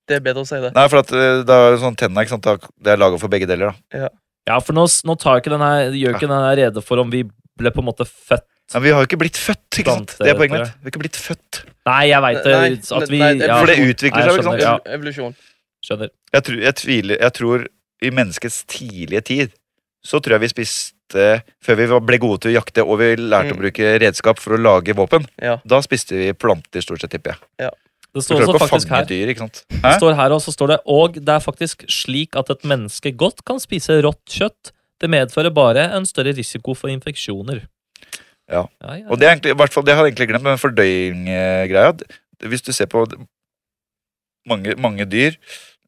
S2: Det er bedre å si det.
S1: Nei, for at eh, det er sånn tenna, ikke sant. da- Det er laga for begge deler, da.
S3: Ja, for nå, s- nå tar ikke den her, gjør ikke den her rede for om vi ble på en måte født
S1: Men vi har jo ikke blitt født, ikke sant. Det er poenget mitt. Vi har ikke blitt født.
S3: Nei, jeg veit det.
S2: Nei,
S3: At vi,
S2: nei, det-
S3: ja,
S1: For det utvikler
S3: Nei,
S1: seg, ikke
S3: jeg
S1: sant.
S3: skjønner, ja.
S2: Evo- Evolusjon.
S3: skjønner.
S1: Jeg tror, jeg, tviler, jeg tror i menneskets tidlige tid så tror jeg vi spiste Før vi var- ble gode til å jakte og vi lærte å
S2: Mm.
S1: bruke redskap for å lage våpen,
S2: Ja.
S1: da spiste vi planter, stort sett, tipper jeg.
S3: Det
S1: Du
S3: står
S1: klarer
S3: også
S1: ikke å
S3: faktisk
S1: fange
S3: her.
S1: dyr, ikke sant.
S3: Det
S1: Hæ?
S3: står her også, står det, og det er faktisk slik at et menneske godt kan spise rått kjøtt. Det medfører bare en større risiko for infeksjoner.
S1: Ja.
S3: ja, ja.
S1: Og det, er egentlig, i hvert fall, det har jeg egentlig glemt, men fordøyinggreia Hvis du ser på d- mange, mange dyr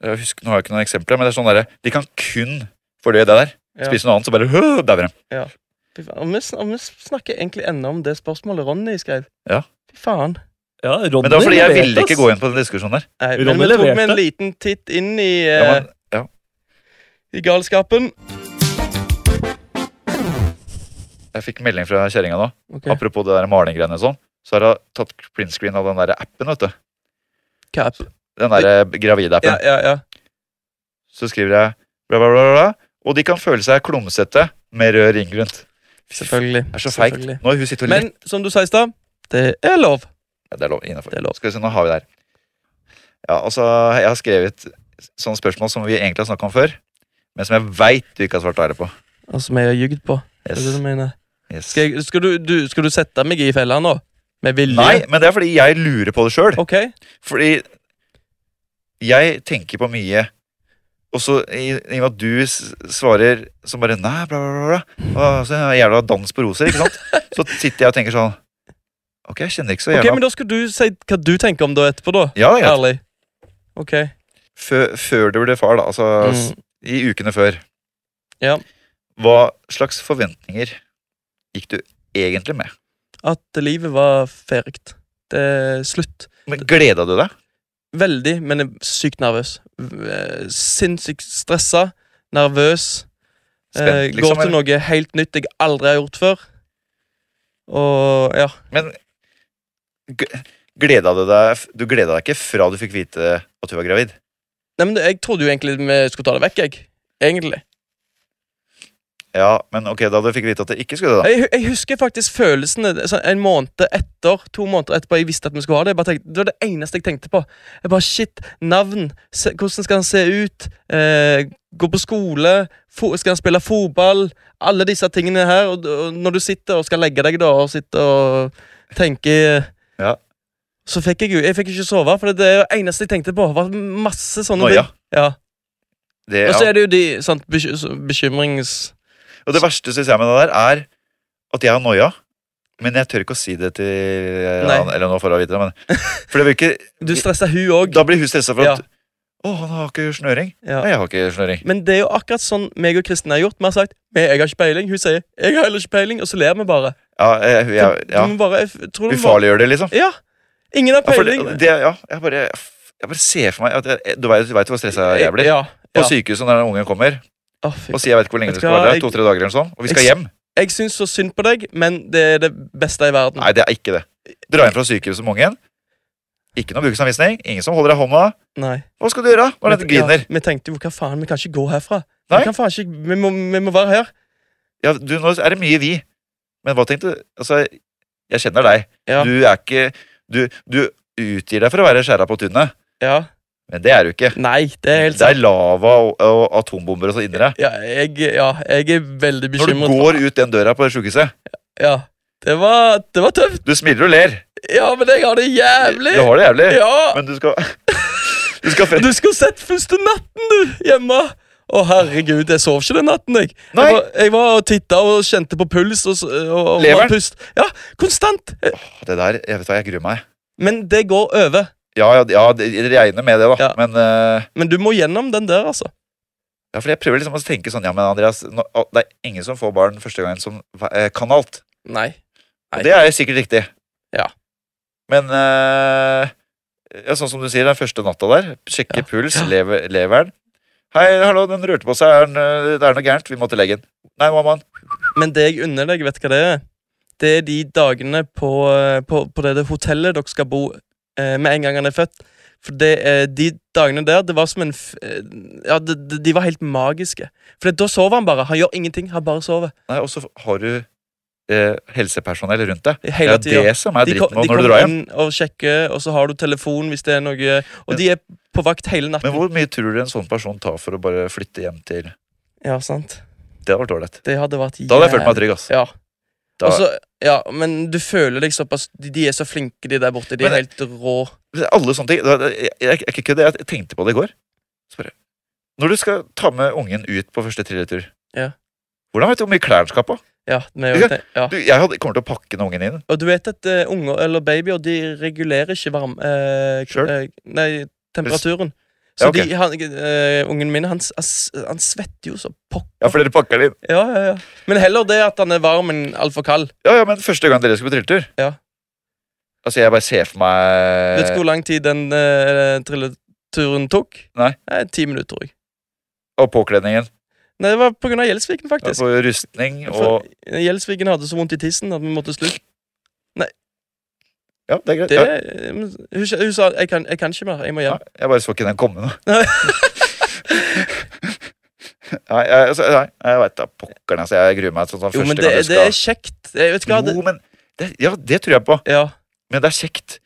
S1: jeg husker, Nå har jeg ikke noen eksempler, men det er sånn derre De kan kun fordøye det der.
S2: Ja.
S1: Spise noe annet, så bare «Hø, dauer de.
S2: Fy faen, Og vi, sn- og vi snakker egentlig ennå om det spørsmålet Ronny skrev.
S1: Ja.
S2: Fy faen.
S3: Ja, Ronny
S1: Men det var fordi jeg
S3: leverte,
S1: ville ikke
S3: ass.
S1: gå inn på den diskusjonen der.
S2: Nei, men
S3: Ronny
S2: vi tok
S3: leverte.
S2: med en liten titt inn i, eh,
S1: Ja, men, ja.
S2: i galskapen.
S1: Jeg fikk melding fra kjerringa nå.
S2: Ok,
S1: Apropos det der malinggreiene og sånn. Så har hun tatt print screen av den der appen, vet du.
S2: Cap.
S1: den der gravidappen.
S2: Ja, ja, ja.
S1: Så skriver jeg bla, bla, bla, bla, og de kan føle seg klumsete med rød ring rundt.
S2: Selvfølgelig.
S1: Det er så feigt.
S2: Selvfølgelig.
S1: Nå har hun sittet og lett.
S2: Men som du sa i stad, det er lov.
S1: Ja, det er lov. Innenfor.
S2: Det er lov.
S1: Skal vi se, nå har vi der. Ja, altså, jeg har skrevet sånne spørsmål som vi egentlig har snakket om før, men som jeg veit du ikke har svart ærlig på.
S2: Og som jeg Altså, har ljugd på. Er det det
S1: Yes.
S2: du mener?
S1: Yes.
S2: Skal, jeg, skal, du, du, skal du sette meg i fella nå? Med vilje?
S1: Nei, men det er fordi jeg lurer på det sjøl.
S2: Ok.
S1: Fordi jeg tenker på mye, og så i, i og med at du s- svarer som bare Nei, bla, bla, bla, bla. Og så er det jævla dans på roser, ikke sant? Så sitter jeg og tenker sånn Ok, jeg kjenner ikke så
S2: Ok,
S1: jævla
S2: Men da skal du si hva du tenker om det etterpå, da.
S1: Ja, det er greit.
S2: Ærlig. Ok.
S1: Før, før du ble far, da. Altså s-
S2: Mm.
S1: i ukene før.
S2: Ja.
S1: Hva slags forventninger gikk du egentlig med?
S2: At livet var ferdig. Det er slutt.
S1: Men Gleda du deg?
S2: Veldig, men jeg er sykt nervøs. V- eh, Sinnssykt stressa. Nervøs. Eh,
S1: Spent, liksom?
S2: går til
S1: eller?
S2: noe helt nytt jeg aldri har gjort før. Og ja.
S1: Men g- gleda du deg f- Du gleda deg ikke fra du fikk vite at du var gravid?
S2: Nei, men det- Jeg trodde jo egentlig vi skulle ta det vekk, jeg. Egentlig.
S1: Ja, men ok, da du fikk vite at det ikke skulle det, da.
S2: Jeg, jeg husker faktisk følelsene sånn, en måned etter, to måneder etterpå jeg visste at vi skulle ha det. Jeg bare tenkte, det var det eneste jeg tenkte på. Jeg bare, shit, Navn. Se, hvordan skal han se ut? Eh, gå på skole? Fo skal han spille fotball? Alle disse tingene her. Og, og når du sitter og skal legge deg da, og sitter og tenker
S1: Ja.
S2: Så fikk jeg jo Jeg fikk ikke sove, for det er det eneste jeg tenkte på. var masse sånne
S1: Noia.
S2: ting. Ja.
S1: Det,
S2: Og
S1: ja.
S2: så er det jo de sant, bekym- bekymrings...
S1: Og det verste synes jeg med det der, er at jeg har noia. Men jeg tør ikke å si det til ja,
S2: Nei.
S1: Eller nå får jeg vite det, men For det virker
S2: Du stresser hun òg.
S1: Da blir hun stressa for at Å, han har ikke snøring. Nei, jeg har ikke snøring.
S2: Men det er jo akkurat sånn meg og Kristin har gjort. Vi har sagt «Men 'jeg har ikke peiling', hun sier 'jeg har heller ikke peiling', og så ler vi bare.
S1: Ja, jeg, jeg,
S2: Så
S1: ja.
S2: Du må bare jeg f- tror du må bare
S1: Ufarliggjør det, liksom.
S2: Ja! Ingen har
S1: Ja, for det,
S2: peiling.
S1: det, ja jeg, bare, jeg bare ser for meg at jeg, Du vet du vet hvor stressa jeg blir?
S2: Ja.
S1: På
S2: ja.
S1: sykehuset når den ungen kommer
S2: Å, fy.
S1: og sier jeg vet ikke hvor lenge
S2: Vet
S1: det
S2: du
S1: skal
S2: hva,
S1: være der.
S2: jeg-
S1: To-tre dager eller noe sånt. Og vi skal
S2: Jeg-
S1: hjem.
S2: Jeg syns så synd på deg, men det er det beste i verden.
S1: Nei, det er ikke det. Dra hjem fra sykehuset med ungen. Ikke noe bruksanvisning. Ingen som holder deg i hånda.
S2: Nei.
S1: Hva skal du gjøre når dette
S2: Vi- ja,
S1: griner?
S2: Vi tenkte jo 'hva faen, vi kan ikke gå herfra'.
S1: Nei.
S2: Vi kan faen ikke, vi må, vi må være her.
S1: Ja, du, nå er det mye vi. Men hva tenkte du? Altså, jeg kjenner deg.
S2: Ja.
S1: Du er ikke Du, du utgir deg for å være skjæra på tunet,
S2: Ja.
S1: men det er du ikke.
S2: Nei, det er helt
S1: Det er
S2: sant.
S1: lava og, og atombomber og så inni deg.
S2: Ja, jeg, ja, jeg er veldig
S1: Når du
S2: bekymret.
S1: går ut den døra på det sjukehuset
S2: Ja. Det var, det var tøft.
S1: Du smiler og ler.
S2: Ja, men jeg har det jævlig.
S1: Du har det jævlig.
S2: Ja!
S1: Men du skal Du skal frem
S2: Du skulle sett første natten, du, hjemme! Å, herregud, jeg sov ikke den natten, jeg.
S1: Nei.
S2: Jeg var, jeg var og titta og kjente på puls og, s- og, og
S1: Leveren?
S2: var pust. Ja, konstant. Eh,
S1: Det der, jeg vet hva, jeg gruer meg.
S2: Men det går over.
S1: Ja, ja, ja det det regner med det, da.
S2: Ja.
S1: Men eh,
S2: Men du må gjennom den der, altså.
S1: ja, for jeg prøver liksom å tenke sånn Ja, men Andreas, nå, å, det er ingen som får barn første gangen som eh, kan alt.
S2: Nei. Nei.
S1: Og det er sikkert riktig.
S2: Ja.
S1: Men eh, ja, sånn som du sier, den første natta der, sjekke
S2: Ja.
S1: puls,
S2: Ja.
S1: lever, leveren Hei, hallo, den rørte på seg. Er den, eh, det er noe gærent. Vi må til legen. Nei, mammaen.
S2: Men det jeg unner deg, vet du hva det er? Det er de dagene på, eh, på, på det, det hotellet dere skal bo eh, med en gang han er født. For det, eh, de dagene der, det var som en f eh, Ja, de, de- de var helt magiske. For da sover han bare. Han gjør ingenting. Han bare sover.
S1: Nei, og så har du eh, helsepersonell rundt deg. Det
S2: Hele
S1: er
S2: tida.
S1: det som er
S2: De, kom-
S1: dritten med
S2: de
S1: når du
S2: kommer
S1: drar hjem.
S2: inn og sjekker, og så har du telefon hvis det er noe Og de er på vakt hele natten.
S1: Men hvor mye tror du en sånn person tar for å bare flytte hjem til
S2: Ja, sant.
S1: Det hadde vært ålreit.
S2: Det hadde vært
S1: Da hadde jeg følt meg trygg. ass.
S2: Ja.
S1: Da,
S2: Også- ja, men du føler deg såpass De, de er så flinke, de der borte. De er
S1: Men-
S2: helt rå.
S1: alle sånne ting da- da- Jeg, jeg, jeg, jeg, kødder, jeg tenkte på det i går. Så bare, når du skal ta med ungen ut på første trilletur,
S2: Ja.
S1: hvordan vet du hvor mye klær den skal ha på?
S2: Ja, men jeg, vet det, ja.
S1: Du, jeg hadde, kommer til å pakke den ungen inn.
S2: Og du vet at eh, unger eller babyer de regulerer ikke varme eh,
S1: Selv?
S2: eh, Nei, temperaturen. Så
S1: Ja, ok.
S2: de, han, eh, ungen min, han, s- han, s- han svetter jo så pokker.
S1: Ja, for dere pakker den inn.
S2: Ja, ja, ja. Men heller det at han er varm enn altfor kald.
S1: Ja, ja, men første gang dere skulle på trilletur
S2: Ja.
S1: Altså, jeg bare ser for
S2: Vet du
S1: meg
S2: hvor lang tid den eh, trilleturen tok?
S1: Nei.
S2: Eh, ti minutter, tror jeg.
S1: Og påkledningen.
S2: Nei, Det var på grunn av Gjelsviken,
S1: Ja,
S2: faktisk.
S1: på rustning og
S2: For Gjelsviken hadde så vondt i tissen at vi måtte slu. Nei
S1: Ja, det er greit.
S2: Det,
S1: Ja,
S2: hun, hun sa jeg kan, 'jeg kan ikke mer, jeg må
S1: ja,
S2: hjem'.
S1: jeg bare så ikke den komme nå. Nei, jeg, altså, nei, jeg veit da pokkeren. Altså, jeg gruer meg sånn som
S2: Jo, men
S1: første
S2: det,
S1: gang du
S2: det er
S1: skal
S2: kjekt. Jeg vet ikke hva det,
S1: Jo, men det, Ja, det tror jeg på.
S2: Ja.
S1: Men det er kjekt.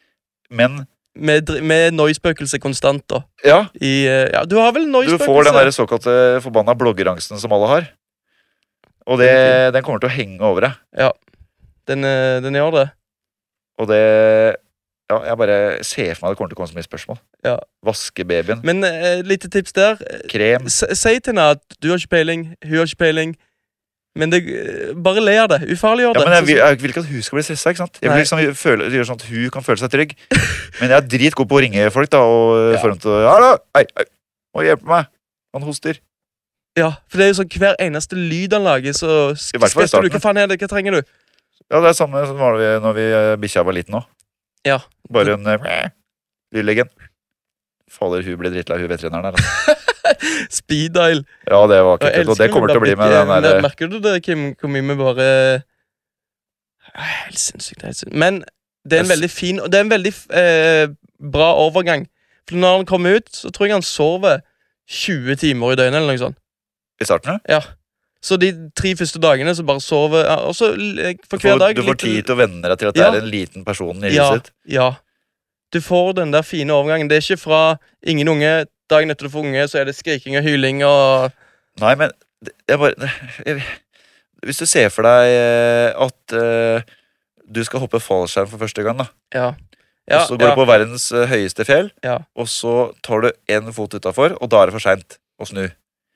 S1: Men
S2: Med, dr- med noispøkelse konstant, da.
S1: ja,
S2: I, eh, ja, du har vel
S1: du
S2: noispøkelse?
S1: får den der såkalte forbanna bloggerangsten som alle har. Og det, den kommer til å henge over deg.
S2: Den, eh, den gjør det.
S1: Og det Ja, jeg bare ser for meg det kommer til å komme så mye spørsmål.
S2: Ja.
S1: Vaske babyen.
S2: Men eh, et lite tips der.
S1: Krem.
S2: S si til henne at du har ikke peiling, hun har ikke peiling, men det, eh, bare le av det.
S1: Ja,
S2: Ufarliggjør det.
S1: men jeg,
S2: Så-
S1: vil, jeg vil ikke at hun skal bli stressa. ikke sant? Jeg vil
S2: Nei.
S1: liksom føle, gjøre sånn at hun kan føle seg trygg. Men jeg er dritgod på å ringe folk da, og få dem til å Hallo! Hei, hei! Må hjelpe meg! Han hoster.
S2: ja, for det er jo sånn hver eneste lyd han lager, så sk-
S1: I hvert fall i
S2: skvetter du.
S1: starten.
S2: Hva faen er det? Hva trenger du?
S1: Ja, Det er samme som var det når vi eh, bikkja var liten òg.
S2: Ja.
S1: Bare en eh, lydleggen. Fader, hun ble drittlei, hun veterinæren her. Altså.
S2: Speed dial.
S1: Ja, det var
S2: Og
S1: ikke
S2: jeg
S1: kult, og det
S2: elsker
S1: kommer
S2: når
S1: til å bli
S2: det
S1: med
S2: blir-
S1: den eh,
S2: Men
S1: derre
S2: Merker du det, Kim, hvor mye vi bare Ja, Helt sinnssykt. Helt sinnssykt. Men det er en
S1: Jeg s-
S2: veldig fin og Det er en veldig f- eh, bra overgang. For når han kommer ut, så tror jeg han sover 20 timer i døgnet. eller noe sånt. eh,
S1: i starten. ja.
S2: Ja. Så de tre første dagene så bare sover ja, Og så l- eh, for
S1: Du
S2: hver
S1: får,
S2: dag
S1: du får
S2: litt-
S1: tid til å venne deg til at det
S2: Ja.
S1: er en liten person i
S2: Ja.
S1: huset ditt.
S2: Ja. Du får den der fine overgangen. Det er ikke fra ingen unge Dagen etter du får unge, så er det skriking og hyling og
S1: Nei, men det- jeg bare jeg, Hvis du ser for deg eh, at eh, du skal hoppe fallskjerm for første gang, da.
S2: Ja. Ja,
S1: og så går
S2: ja.
S1: du på verdens eh, høyeste fjell,
S2: Ja.
S1: og så tar du én fot utafor, og da er det for seint å snu.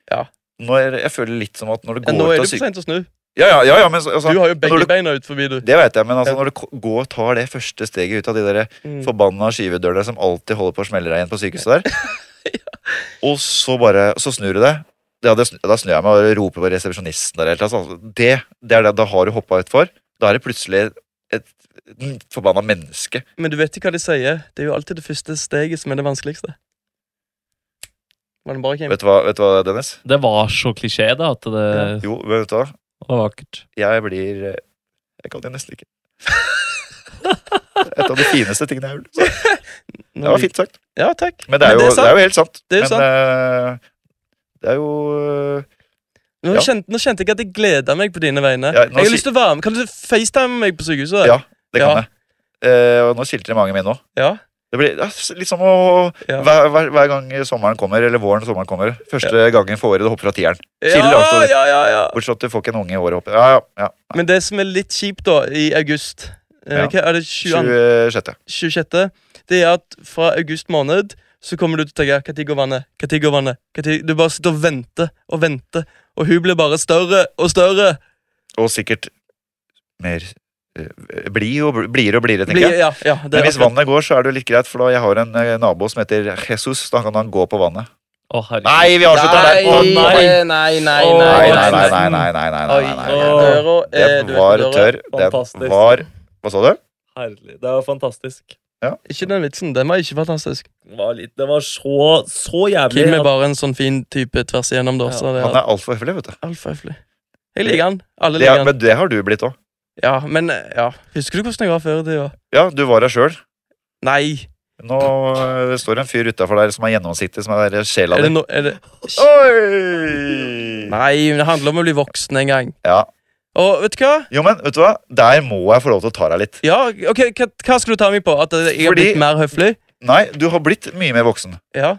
S2: Ja.
S1: Nå er, jeg føler litt som at når du
S2: Ja,
S1: går
S2: Nå er
S1: ut
S2: det
S1: av
S2: for
S1: syk...
S2: sent å snu.
S1: Ja, ja, ja, ja, men så- altså,
S2: Du har jo
S1: når
S2: begge
S1: du-
S2: beina ut forbi, du.
S1: Det veit jeg, men altså,
S2: Ja.
S1: når du ko- går og tar det første steget ut av de der
S2: Mm.
S1: forbanna skyvedørene som alltid holder på å smelle deg igjen på sykehuset der, og så bare Så snur du deg. Ja, det, snu- da snur jeg meg og roper på resepsjonisten der. Helt, altså. det, det er det, da har du hoppa utfor. Da er det plutselig et, et forbanna menneske.
S2: Men du vet ikke hva de sier. Det er jo alltid det første steget som er det vanskeligste. Var det bra, Kim?
S1: Vet du hva, vet du hva Dennis?
S3: Det var så klisjé, da, at det
S1: Jo, vet du hva?
S3: var vakkert.
S1: Jeg blir eh, Jeg kan det nesten ikke. Et av de fineste tingene jeg har gjort. Så
S2: Nå
S1: Det var
S2: lik-
S1: fint sagt.
S2: Ja, takk.
S1: Men det er jo,
S2: Men det er
S1: det
S2: sant.
S1: er jo helt sant.
S2: Det er jo
S1: Men eh, det er jo eh,
S2: Nå,
S1: Ja.
S2: kjente, nå kjente jeg at jeg gleda meg på dine vegne.
S1: Ja, nå
S2: jeg har
S1: si-
S2: lyst til å være med. Kan du facetime meg på sykehuset?
S1: Ja, Det kan
S2: Ja.
S1: jeg. Eh, og nå kilter det i magen min nå.
S2: Ja,
S1: Det blir det er litt som å
S2: ja.
S1: hver, hver, hver gang sommeren kommer, eller våren og sommeren kommer. Første gangen for året du hopper fra tieren.
S2: Ja,
S1: Chille avstand.
S2: ja, ja, ja.
S1: Bortsett fra at du får ikke en unge i året. Hopper. Ja, ja, ja.
S2: Men det som er litt kjipt, da, i august eh,
S1: Ja.
S2: hva Er det 22,
S1: 26.
S2: 26.? Det er at fra august måned så kommer du til å tenke Når går vannet? Når går vannet? Hva tid-" Du bare sitter og venter og venter, og hun blir bare større og større.
S1: Og sikkert mer eh, bli og bl- blidere og blidere, tenker
S2: Blir,
S1: jeg.
S2: ja, ja, det
S1: Men
S2: er
S1: hvis
S2: akkurat-
S1: vannet går, så er det jo litt greit, for da jeg har en eh, nabo som heter Jesus. Da kan han gå på vannet.
S3: Å, herregud.
S1: Nei, vi avslutter der! Å,
S3: Nei,
S1: nei,
S2: nei, nei, nei,
S3: Å,
S1: nei, nei,
S3: nei,
S1: nei, nei, nei, nei, nei,
S2: Oi,
S1: nei, nei,
S3: Åh.
S1: nei.
S2: døra er
S1: Den
S2: du vet,
S1: var
S2: døra-
S1: tørr.
S3: Fantastisk.
S1: Den var Hva sa du?
S3: Herlig. Det var fantastisk.
S2: Ikke den vitsen. Den var ikke fantastisk.
S3: Det var, litt, det var så, så jævlig.
S2: Kim er
S3: at-
S2: bare en sånn fin type tvers igjennom, da.
S3: Ja.
S2: Så det
S1: Han
S2: er
S1: er altfor høflig, vet du.
S2: altfor høflig. Jeg liker han. Alle
S1: Det,
S2: liker
S1: er-
S2: han.
S1: men det har du blitt òg.
S2: Ja, men eh, ja. Husker du hvordan jeg var før i tida?
S1: Ja, du var her sjøl.
S2: Nei.
S1: Nå eh, det står en fyr utafor der som er gjennomsiktig, som er sjela
S2: Er det
S1: di.
S2: no, er det,
S1: Oi!
S2: nei, men det handler om å bli voksen en gang.
S1: Ja.
S2: Og vet du hva?
S1: Jo, men vet du hva? Der må jeg få lov til å ta deg litt.
S2: Ja, ok, Hva, hva skal du ta meg på? At jeg har
S1: Fordi-
S2: blitt mer høflig?
S1: Nei, du har blitt mye mer voksen.
S2: Ja.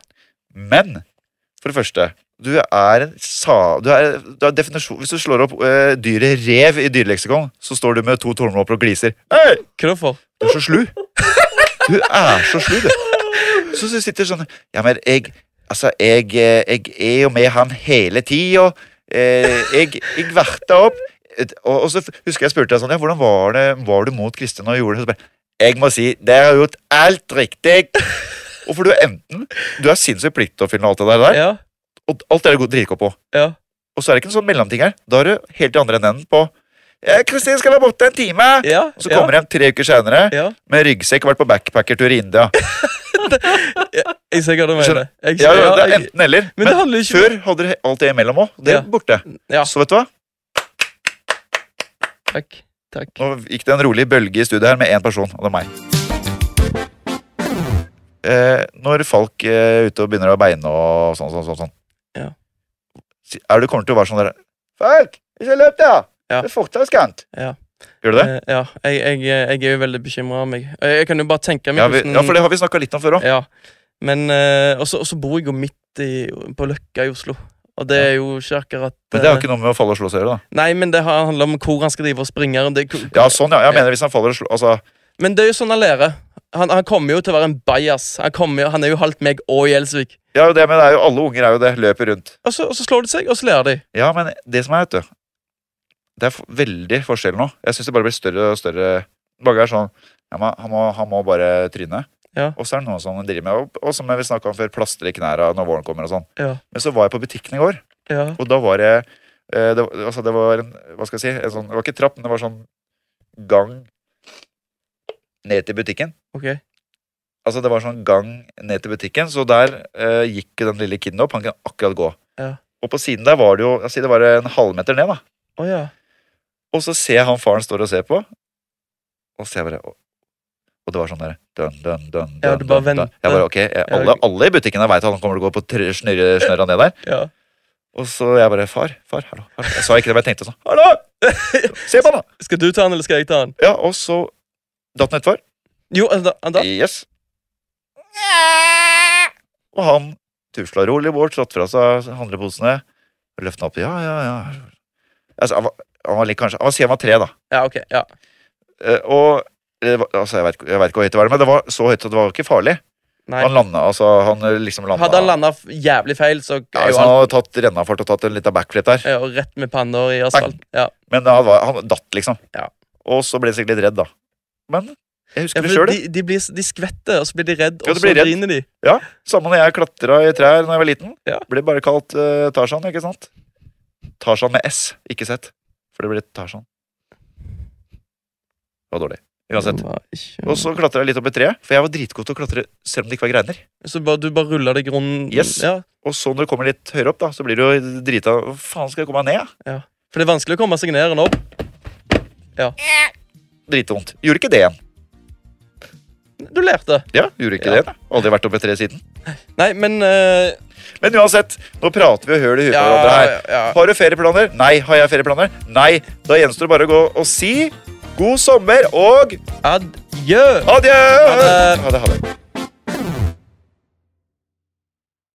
S1: Men for det første du er, en sa, du er, du er definisjon, Hvis du slår opp eh, dyret rev i dyreleksikon, så står du med to tomler opp og gliser. Hei!
S2: Hva da for?
S1: Du er så slu. Du er så slu, du. Så du sitter sånn Ja, men jeg Altså, jeg, eh, jeg er jo med han hele tida. Eh, jeg jeg verta opp. Et- Og, og så f- husker jeg spurte deg sånn Ja, hvordan var det Var du mot Kristin og gjorde det? Så bare, jeg må si det har gjort alt riktig. Og for du er enten Du er sinnssykt pliktoppfyllende og alt det der,
S2: Ja.
S1: og alt det er du god- dritgod på.
S2: Ja.
S1: Og så er det ikke en sånn mellomting her. Da er du helt i andre enden på «Ja, Kristin skal være borte en time.
S2: ja.
S1: Og så kommer
S2: ja.
S1: de tre uker seinere
S2: Ja.
S1: med ryggsekk vært på backpackertur i India.
S2: Jeg ser hva du mener. Jeg,
S1: Ja, ja, det er
S2: jeg,
S1: enten eller.
S2: men
S1: Men,
S2: det handler ikke
S1: før hadde dere alt det imellom òg. Det er
S2: Ja.
S1: borte.
S2: Ja.
S1: Så vet du hva?
S2: Takk. Takk.
S1: Nå gikk det en rolig bølge i studiet her med én person, og det er meg. eh, når folk eh, er ute og begynner å beine og sånn, sånn, sånn, sånn.
S2: Ja.
S1: Si- Er du kommer til å være sånn der Folk, ikke løp der!
S2: Ja.
S1: Det er fortauskant!
S2: Ja.
S1: Gjør du det?
S2: Eh, ja, jeg, jeg, jeg er jo veldig bekymra av meg. Eh, Jeg kan jo bare tenke meg
S1: Ja, vi, ja, for det har vi snakka litt om før òg.
S2: Ja. Men eh, Og så og så bor jeg jo midt i, på Løkka i Oslo. Og det er jo ikke akkurat
S1: Men det er jo
S2: eh,
S1: ikke noe med å falle og slå seg i hjel, da.
S2: Nei, men det har- handler om hvor han skal drive og springe. rundt. Det, er-
S1: Ja, sånn, ja. Jeg mener hvis han faller og slår Altså,
S2: Men det er jo sånn han lærer. Han, han kommer jo til å være en bajas. Han, kommer jo- han er jo halvt meg og Gjelsvik.
S1: ja, det, men det er jo alle unger er jo det. Løper rundt.
S2: Og så, og så slår de seg, og så lærer de.
S1: Ja, men det som er, vet du Det er f- veldig forskjell nå. Jeg syns det bare blir større og større. Mange er sånn ja, men han, må, han må bare tryne.
S2: Ja.
S1: Og så er det noen som driver med og- Og som vi snakka om før, plastre i knærne når våren kommer og sånn.
S2: Ja.
S1: Men så var jeg på butikken i går,
S2: Ja.
S1: og da var jeg eh, det, var- altså, det var en Hva skal jeg si? En sånn, det var ikke trapp, men det var sånn gang ned til butikken.
S2: Ok.
S1: Altså Det var sånn gang ned til butikken, så der eh, gikk jo den lille kiden opp. Han kunne akkurat gå.
S2: Ja.
S1: Og på siden der var det jo altså, det var en halvmeter ned. da
S2: Å ja.
S1: Og så ser jeg han faren står og ser på, og så jeg bare Og, og det var sånn der dun, dun, dun,
S2: Ja,
S1: dun,
S2: du bare
S1: dun, dun.
S2: venter.
S1: Jeg bare, ok, jeg, alle, alle i butikken her veit at han kommer til å gå på tr- snurre snørra ned der.
S2: ja.
S1: Og så jeg bare Far, far, hallo. hallo. Jeg sa ikke det, men jeg tenkte sånn. Hallo! Se på han, da!
S2: Skal du ta han, eller skal jeg ta han?
S1: Ja, og så datt han utfor.
S2: Jo, han da- han da.
S1: Yes. Og han tusla rolig bort, trådte fra seg handleposene, løfta opp Ja, ja, ja. Altså, han var, han var litt, kanskje, han var, si han var tre, da.
S2: Ja, ok. Ja.
S1: Eh, og eh, hva- altså, jeg vet ikke- jeg vet ikke hvor høyt det var, men det var så høyt at det var ikke farlig.
S2: Nei.
S1: Han landa, altså. Han eh, liksom landa
S2: Hadde han landa jævlig feil, så
S1: ja,
S2: er
S1: hvis
S2: jo
S1: Han
S2: alt
S1: hadde tatt rennafart og tatt en liten backflip der.
S2: ja, og rett med panner i asfalt. Ja.
S1: Men da var, han datt, liksom.
S2: Ja.
S1: Og så ble jeg sikkert litt redd, da. Men jeg
S2: Ja,
S1: husker det
S2: for
S1: sjøl.
S2: de, de, blir, s- de skvetter, og så blir de redd,
S1: Ja,
S2: og
S1: de
S2: så
S1: blir redd.
S2: griner de.
S1: Samme når jeg klatra i trær da jeg var liten.
S2: Ja.
S1: Ble bare kalt eh, Tarzan, ikke sant? Tarzan med S, ikke Z. For det ble Tarzan. Det var dårlig. Uansett.
S2: Det var ikke-
S1: Og så klatra jeg litt opp i treet, for jeg var dritgod til å klatre selv om det ikke var greiner.
S2: Så bare, du bare ruller deg rundt
S1: Yes.
S2: ja.
S1: Og så når du kommer litt høyere opp, da, så blir du jo drita Hva faen skal jeg komme meg ned? da?
S2: For det er vanskelig å komme seg ned enn opp.
S1: Dritvondt. Gjorde ikke det igjen.
S2: Du lærte.
S1: Ja, gjorde ikke
S2: Ja.
S1: det igjen. da. Aldri vært oppe i tre siden.
S2: Nei, men eh,
S1: Men uansett, nå prater vi og hører i huet på
S2: ja,
S1: hverandre her.
S2: ja,
S1: Har du ferieplaner? Nei. Har jeg ferieplaner? Nei. Da gjenstår det bare å gå og si god sommer og
S2: Adjø.
S1: adjø!
S2: det.
S1: Ha det, ha det.